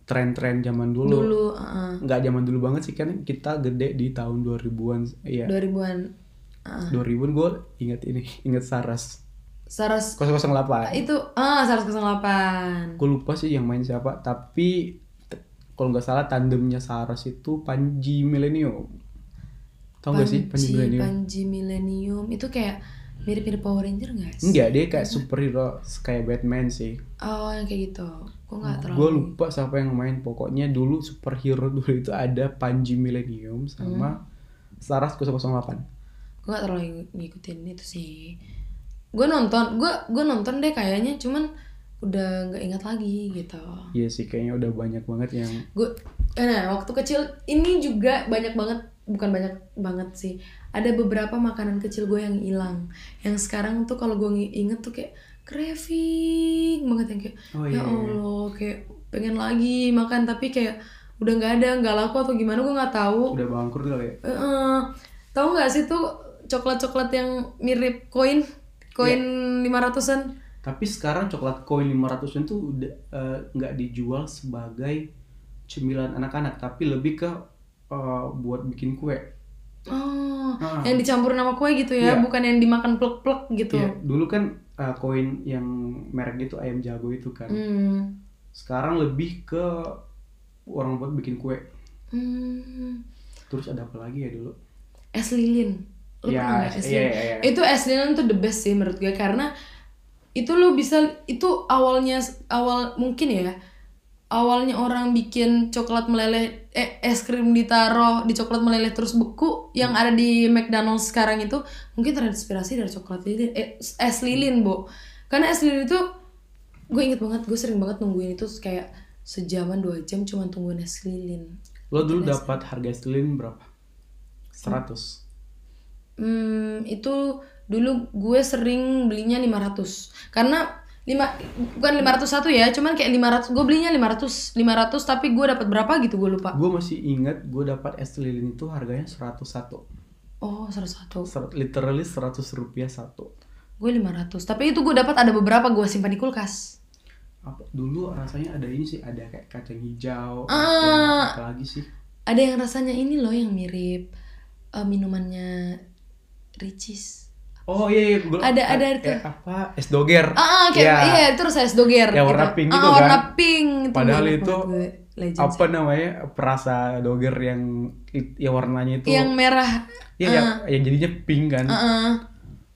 [SPEAKER 1] tren-tren zaman
[SPEAKER 2] dulu,
[SPEAKER 1] dulu
[SPEAKER 2] heeh.
[SPEAKER 1] nggak zaman dulu banget sih kan kita gede di tahun 2000-an iya
[SPEAKER 2] 2000-an. heeh.
[SPEAKER 1] 2000-an gue inget ini inget Saras
[SPEAKER 2] Saras
[SPEAKER 1] 008
[SPEAKER 2] itu ah Saras 08.
[SPEAKER 1] gue lupa sih yang main siapa tapi t- kalau nggak salah tandemnya Saras itu Panji Millennium tau nggak sih Panji Millennium
[SPEAKER 2] Panji Millennium itu kayak mirip-mirip Power Ranger nggak sih?
[SPEAKER 1] enggak dia kayak superhero kayak Batman sih
[SPEAKER 2] Oh, yang kayak gitu. Gue nggak terlalu.
[SPEAKER 1] gue lupa siapa yang main pokoknya dulu superhero dulu itu ada Panji Millennium sama Saras 008
[SPEAKER 2] gue gak terlalu ngikutin itu sih gue nonton gue gue nonton deh kayaknya cuman udah nggak ingat lagi gitu
[SPEAKER 1] iya sih kayaknya udah banyak banget yang
[SPEAKER 2] gue nah waktu kecil ini juga banyak banget bukan banyak banget sih ada beberapa makanan kecil gue yang hilang yang sekarang tuh kalau gue ngi- inget tuh kayak craving banget yang kayak
[SPEAKER 1] Oh,
[SPEAKER 2] ya
[SPEAKER 1] iya, iya.
[SPEAKER 2] allah kayak pengen lagi makan tapi kayak udah nggak ada nggak laku atau gimana gue nggak tahu
[SPEAKER 1] udah bangkrut kali ya
[SPEAKER 2] Heeh. tahu nggak sih tuh coklat-coklat yang mirip koin, koin
[SPEAKER 1] Iya.
[SPEAKER 2] lima ratusan?
[SPEAKER 1] Tapi sekarang coklat koin 500 itu udah eh, nggak dijual sebagai cemilan anak-anak, tapi lebih ke eh, buat bikin kue.
[SPEAKER 2] Oh,
[SPEAKER 1] Ah.
[SPEAKER 2] yang dicampur nama kue gitu
[SPEAKER 1] Iya.
[SPEAKER 2] ya, bukan yang dimakan plek-plek gitu.
[SPEAKER 1] Iya, dulu kan eh, koin yang merek itu ayam jago itu kan.
[SPEAKER 2] Hmm.
[SPEAKER 1] Sekarang lebih ke orang buat bikin kue.
[SPEAKER 2] Hmm.
[SPEAKER 1] Terus ada apa lagi ya dulu?
[SPEAKER 2] Es lilin. Lu
[SPEAKER 1] Iya,
[SPEAKER 2] pernah nggak es
[SPEAKER 1] iya,
[SPEAKER 2] lilin?
[SPEAKER 1] iya, iya.
[SPEAKER 2] Itu es lilin tuh the best sih menurut gue karena itu lu bisa itu awalnya awal mungkin ya awalnya orang bikin coklat meleleh eh, es krim ditaruh di coklat meleleh terus beku yang
[SPEAKER 1] Hmm.
[SPEAKER 2] ada di McDonald's sekarang itu mungkin terinspirasi dari coklat lilin eh, es lilin bu karena es lilin itu gue inget banget gue sering banget nungguin itu kayak sejaman dua jam cuma tungguin es lilin
[SPEAKER 1] Lo dulu dapat harga selin berapa? 100.
[SPEAKER 2] Hmm, itu dulu gue sering belinya 500. Karena lima bukan 501 ya, cuman kayak 500. Gue belinya 500, 500 tapi gue dapat berapa gitu gue lupa.
[SPEAKER 1] Gue masih ingat gue dapat es lilin itu harganya 101.
[SPEAKER 2] Oh, 101.
[SPEAKER 1] Ser- Literally 100 rupiah satu.
[SPEAKER 2] Gue 500. Tapi itu gue dapat ada beberapa gue simpan di kulkas.
[SPEAKER 1] apa dulu rasanya ada ini sih ada kayak kacang hijau
[SPEAKER 2] Ah.
[SPEAKER 1] ada apa lagi sih
[SPEAKER 2] ada yang rasanya ini loh yang mirip eh, minumannya Ricis
[SPEAKER 1] Oh iya, iya. Gua-
[SPEAKER 2] Ada- ada
[SPEAKER 1] eh,
[SPEAKER 2] tuh.
[SPEAKER 1] apa? Es doger.
[SPEAKER 2] ah ah, kayak
[SPEAKER 1] Ya.
[SPEAKER 2] iya terus es doger
[SPEAKER 1] Ya, warna pink
[SPEAKER 2] Ah,
[SPEAKER 1] gitu
[SPEAKER 2] warna
[SPEAKER 1] kan.
[SPEAKER 2] pink
[SPEAKER 1] Padahal
[SPEAKER 2] banyak
[SPEAKER 1] itu
[SPEAKER 2] menurut gue legend
[SPEAKER 1] apa namanya perasa doger yang yang warnanya itu
[SPEAKER 2] sih. yang merah
[SPEAKER 1] ya, yang, yang jadinya pink kan
[SPEAKER 2] ah ah.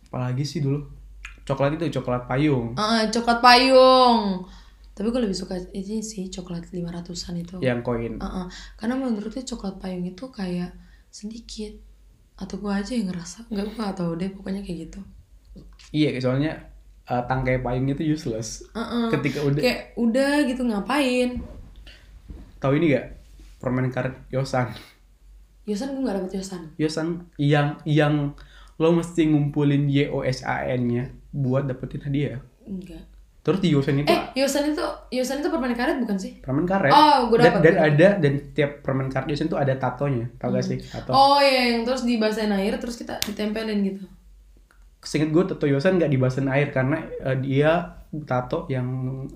[SPEAKER 1] apalagi sih dulu coklat itu coklat payung
[SPEAKER 2] Ah, ah, coklat payung tapi gue lebih suka ini sih coklat 500an itu
[SPEAKER 1] yang koin
[SPEAKER 2] Ah, ah. karena menurutnya coklat payung itu kayak sedikit atau gue aja yang ngerasa nggak gue atau deh pokoknya kayak gitu
[SPEAKER 1] iya soalnya eh, tangkai payung itu useless
[SPEAKER 2] Ah, ah.
[SPEAKER 1] ketika udah
[SPEAKER 2] kayak udah gitu ngapain
[SPEAKER 1] tahu ini gak permen karet yosan
[SPEAKER 2] Yosan gue nggak dapet Yosan
[SPEAKER 1] yosan yang yang lo mesti ngumpulin yosan nya buat dapetin hadiah
[SPEAKER 2] enggak
[SPEAKER 1] terus di yosan itu
[SPEAKER 2] eh Yosan itu Yosan itu permen karet bukan sih
[SPEAKER 1] permen karet
[SPEAKER 2] Oh, gua
[SPEAKER 1] dan,
[SPEAKER 2] dapet,
[SPEAKER 1] dan
[SPEAKER 2] gua
[SPEAKER 1] ada dan tiap permen karet yosan itu ada tatonya tau gak sih tato
[SPEAKER 2] Oh iya, yang terus dibasahin air terus kita ditempelin gitu.
[SPEAKER 1] seinget gue tato yosan nggak dibahasin air karena eh, dia tato yang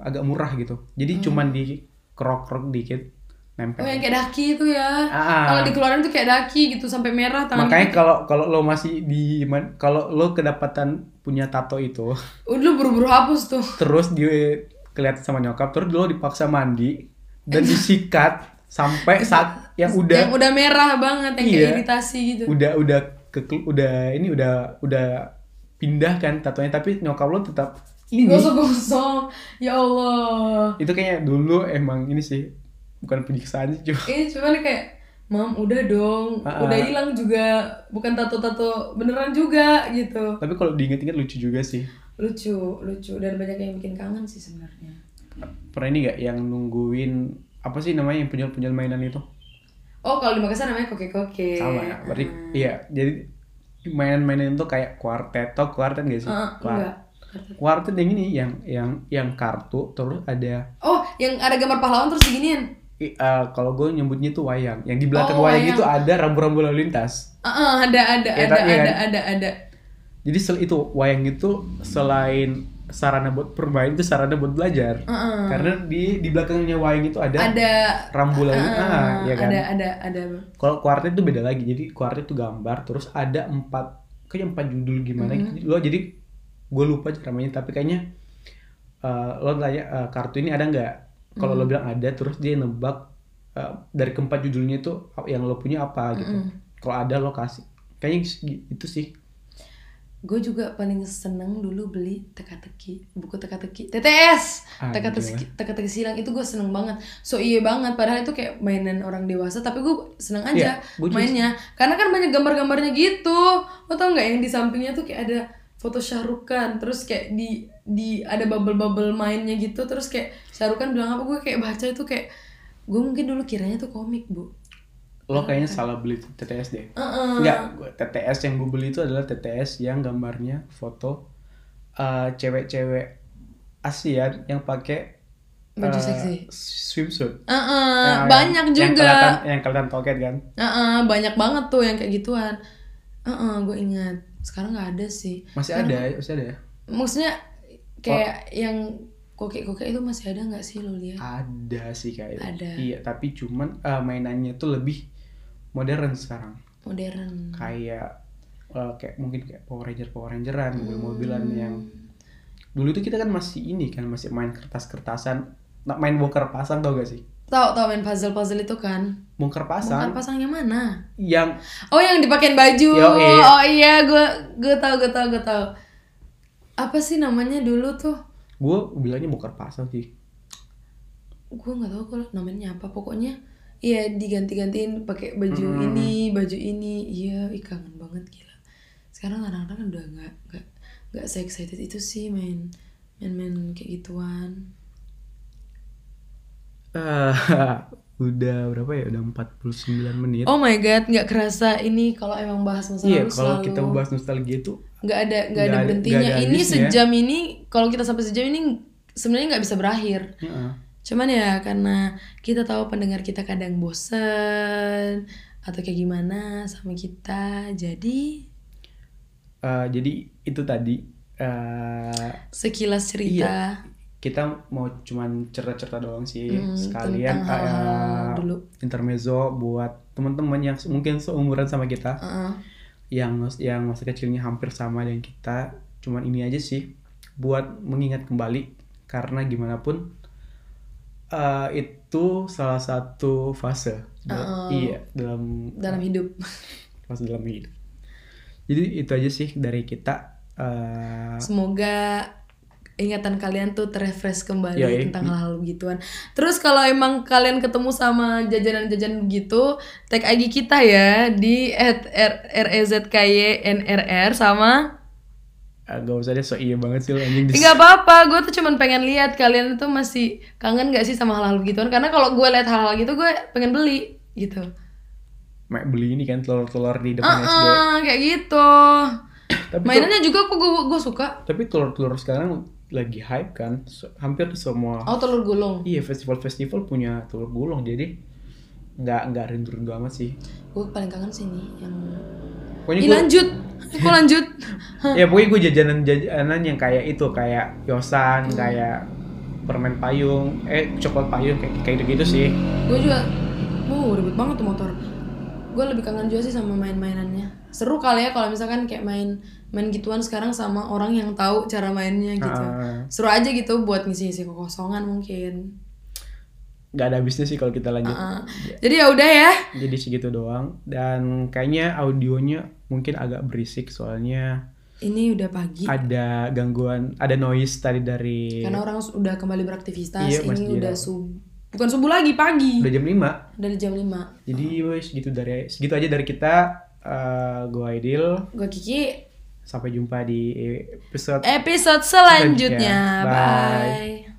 [SPEAKER 1] agak murah gitu jadi
[SPEAKER 2] Hmm.
[SPEAKER 1] cuman di kerok kerok dikit nempel
[SPEAKER 2] Oh yang kayak daki itu ya.
[SPEAKER 1] Ah.
[SPEAKER 2] Kalau dikeluarin tuh kayak daki gitu sampai merah tangan.
[SPEAKER 1] makanya kalau kalau lo masih di man- kalau lo kedapatan punya tato itu
[SPEAKER 2] Udah lu buru-buru hapus tuh.
[SPEAKER 1] terus dia kelihatan sama nyokap terus lo dipaksa mandi dan disikat sampai saat yang udah
[SPEAKER 2] Yang udah merah banget, yang kayak
[SPEAKER 1] Iya.
[SPEAKER 2] iritasi gitu.
[SPEAKER 1] udah udah ke udah ini udah udah pindah kan tatonya tapi nyokap lo tetap ini
[SPEAKER 2] Gosok-gosok. Ya Allah.
[SPEAKER 1] itu kayaknya dulu emang ini sih bukan penyiksaan sih cuma
[SPEAKER 2] Ini cuman kayak Mam udah dong,
[SPEAKER 1] Ah, ah.
[SPEAKER 2] udah hilang juga, bukan tato-tato beneran juga gitu.
[SPEAKER 1] tapi kalau diinget-inget lucu juga sih
[SPEAKER 2] Lucu, lucu dan banyak yang bikin kangen sih sebenarnya.
[SPEAKER 1] pernah ini nggak yang nungguin apa sih namanya yang penjual-penjual mainan itu
[SPEAKER 2] Oh, kalau di Makassar namanya koke-koke.
[SPEAKER 1] sama ya berarti iya jadi mainan-mainan itu kayak kuartet tau kuartet gak sih
[SPEAKER 2] Ah,
[SPEAKER 1] Kuar-
[SPEAKER 2] enggak.
[SPEAKER 1] kuartet yang ini yang yang yang kartu terus ada
[SPEAKER 2] Oh, yang ada gambar pahlawan terus diginiin.
[SPEAKER 1] i- eh, kalau gue nyebutnya tuh wayang yang di belakang
[SPEAKER 2] Oh,
[SPEAKER 1] wayang,
[SPEAKER 2] wayang.
[SPEAKER 1] itu ada rambu-rambu lalu lintas
[SPEAKER 2] Ah, ah, ada ada
[SPEAKER 1] Iya,
[SPEAKER 2] ada
[SPEAKER 1] tapi kan-
[SPEAKER 2] ada ada ada.
[SPEAKER 1] jadi sel itu wayang itu selain sarana buat bermain itu sarana buat belajar
[SPEAKER 2] Ah, ah.
[SPEAKER 1] karena di di belakangnya wayang itu ada,
[SPEAKER 2] Ada
[SPEAKER 1] rambu lalu
[SPEAKER 2] ah,
[SPEAKER 1] ah, ya Iya. kan
[SPEAKER 2] ada ada ada.
[SPEAKER 1] kalau kuartet itu beda lagi jadi kuartet itu gambar terus ada empat kayaknya empat judul gimana gitu lo jadi gue lupa cara mainnya tapi kayaknya eh, lo tanya eh, kartu ini ada nggak kalau lo bilang ada terus dia nebak eh, dari keempat judulnya itu yang lo punya apa gitu kalau ada lo kasih kayaknya segi- itu sih
[SPEAKER 2] Gue juga paling seneng dulu beli teka-teki, buku teka-teki, TTS,
[SPEAKER 1] Ah,
[SPEAKER 2] teka-teki, teka-teki silang itu gue seneng banget. So iya banget, padahal itu kayak mainan orang dewasa, tapi gue seneng aja
[SPEAKER 1] Iya, gua juga
[SPEAKER 2] mainnya, karena kan banyak gambar-gambarnya gitu. Lo tau nggak yang di sampingnya tuh kayak ada foto Syahrukan, terus kayak di di ada bubble-bubble mainnya gitu, terus kayak Syahrukan bilang apa gue kayak baca itu kayak gue mungkin dulu kiranya tuh komik bu.
[SPEAKER 1] lo kayaknya salah beli TTS deh
[SPEAKER 2] Heeh.
[SPEAKER 1] Enggak, gua- TTS yang gue beli itu adalah TTS yang gambarnya foto eh, cewek-cewek Asia yang pakai
[SPEAKER 2] Baju
[SPEAKER 1] eh,
[SPEAKER 2] seksi.
[SPEAKER 1] swimsuit.
[SPEAKER 2] Heeh,
[SPEAKER 1] Yang-
[SPEAKER 2] banyak
[SPEAKER 1] yang- Yang
[SPEAKER 2] juga.
[SPEAKER 1] kelihatan, yang kelihatan toket kan.
[SPEAKER 2] Heeh, banyak banget tuh yang kayak gituan. Heeh, gue ingat. Sekarang nggak ada sih.
[SPEAKER 1] Masih ada, masih ada ya?
[SPEAKER 2] Maksudnya
[SPEAKER 1] Oh.
[SPEAKER 2] kayak yang kokek-kokek itu masih ada nggak sih ya? lo lihat?
[SPEAKER 1] Ada sih kayaknya.
[SPEAKER 2] Ada.
[SPEAKER 1] Iya, tapi cuman eh, mainannya tuh lebih modern sekarang.
[SPEAKER 2] Hmm. Modern.
[SPEAKER 1] Kayak eh, kayak mungkin kayak Power Ranger Power Rangeran, mobil-mobilan
[SPEAKER 2] Hmm.
[SPEAKER 1] yang dulu tuh kita kan masih ini kan masih main kertas-kertasan, Nah, main bongkar pasang tau gak sih?
[SPEAKER 2] Tahu tahu main puzzle-puzzle itu kan?
[SPEAKER 1] Bongkar
[SPEAKER 2] Bukan
[SPEAKER 1] pasang
[SPEAKER 2] pasang yang mana?
[SPEAKER 1] yang
[SPEAKER 2] Oh, yang dipakein baju.
[SPEAKER 1] Yoi.
[SPEAKER 2] Oh iya, gue gue tahu gue tahu gue tahu. Apa sih namanya dulu tuh?
[SPEAKER 1] gue bilangnya bongkar pasang sih
[SPEAKER 2] gue nggak tahu kalau namanya apa pokoknya ya diganti-gantiin pakai baju
[SPEAKER 1] Hmm.
[SPEAKER 2] ini baju ini iya ih, kangen banget gila sekarang anak-anak kan udah nggak nggak nggak se excited itu sih main main main kayak gituan
[SPEAKER 1] Eh, udah berapa ya udah 49 menit
[SPEAKER 2] oh my god nggak kerasa ini kalau emang bahas masa
[SPEAKER 1] iya
[SPEAKER 2] lalu
[SPEAKER 1] kalau
[SPEAKER 2] selalu
[SPEAKER 1] kita bahas nostalgia itu
[SPEAKER 2] nggak ada nggak ada
[SPEAKER 1] nggak ada-
[SPEAKER 2] berhentinya
[SPEAKER 1] nggak ada
[SPEAKER 2] ini
[SPEAKER 1] habisnya.
[SPEAKER 2] sejam ini kalau kita sampai sejam ini sebenarnya nggak bisa berakhir
[SPEAKER 1] heeh.
[SPEAKER 2] Cuman ya karena kita tahu pendengar kita kadang bosen atau kayak gimana sama kita. Jadi
[SPEAKER 1] Eh, jadi itu tadi eh
[SPEAKER 2] sekilas cerita
[SPEAKER 1] kita mau cuman cerita-cerita doang sih Iya,
[SPEAKER 2] Hmm,
[SPEAKER 1] sekalian ah,
[SPEAKER 2] tentang hal-hal
[SPEAKER 1] kayak
[SPEAKER 2] dulu.
[SPEAKER 1] intermezzo buat teman-teman yang se- mungkin seumuran sama kita
[SPEAKER 2] Heeh.
[SPEAKER 1] yang mas- yang masa kecilnya hampir sama dengan kita cuman ini aja sih buat mengingat kembali karena gimana pun eh, itu salah satu fase
[SPEAKER 2] Uh-uh.
[SPEAKER 1] iya dalam
[SPEAKER 2] dalam hidup
[SPEAKER 1] ah. fase dalam hidup jadi itu aja sih dari kita Eh,
[SPEAKER 2] Semoga ingatan kalian tuh terrefresh kembali
[SPEAKER 1] Yoi.
[SPEAKER 2] tentang hal-hal begituan. Terus kalau emang kalian ketemu sama jajanan-jajanan begitu, tag IG kita ya di e @rezkynrr sama
[SPEAKER 1] eh, gak usah deh so iya banget sih lo anjing
[SPEAKER 2] Eh, nggak apa-apa, gue tuh cuman pengen lihat kalian tuh masih kangen gak sih sama hal-hal begituan karena kalau gue lihat hal-hal gitu gue pengen beli gitu.
[SPEAKER 1] Mak beli ini kan telur-telur di
[SPEAKER 2] Ah,
[SPEAKER 1] depan SD
[SPEAKER 2] ah, kayak gitu.
[SPEAKER 1] tapi tuh-
[SPEAKER 2] Mainannya juga kok gue gue suka.
[SPEAKER 1] tapi telur-telur sekarang lagi hype kan So- hampir di semua
[SPEAKER 2] Oh, telur gulung.
[SPEAKER 1] Iya festival-festival punya telur gulung jadi nggak nggak rindu-rindu amat sih.
[SPEAKER 2] Gue paling kangen sih nih yang
[SPEAKER 1] Pokoknya
[SPEAKER 2] Ih,
[SPEAKER 1] gue,
[SPEAKER 2] lanjut. Kok lanjut?
[SPEAKER 1] ya pokoknya gue jajanan-jajanan yang kayak itu kayak yosan, kayak permen payung, eh coklat payung kayak kayak gitu, sih.
[SPEAKER 2] gue juga, wow ribet banget tuh motor. Gue lebih kangen juga sih sama main-mainannya. Seru kali ya kalau misalkan kayak main main gituan sekarang sama orang yang tahu cara mainnya gitu.
[SPEAKER 1] Ah.
[SPEAKER 2] Seru aja gitu buat ngisi-ngisi kekosongan mungkin.
[SPEAKER 1] Nggak ada habisnya sih kalau kita lanjut.
[SPEAKER 2] Ah, Jadi ya udah ya.
[SPEAKER 1] Jadi segitu doang dan kayaknya audionya mungkin agak berisik soalnya
[SPEAKER 2] Ini udah pagi.
[SPEAKER 1] Iya. ada gangguan, ada noise tadi dari
[SPEAKER 2] Karena orang s- udah kembali beraktivitas.
[SPEAKER 1] Iya, masjid.
[SPEAKER 2] ini udah subuh. Bukan subuh lagi, pagi.
[SPEAKER 1] udah jam 5
[SPEAKER 2] Dari jam 5.
[SPEAKER 1] Jadi wes segitu dari segitu aja dari kita. Eh, gue Aidil.
[SPEAKER 2] Gue Kiki,
[SPEAKER 1] Sampai jumpa di episode
[SPEAKER 2] episode selanjutnya.
[SPEAKER 1] Bye.
[SPEAKER 2] Bye.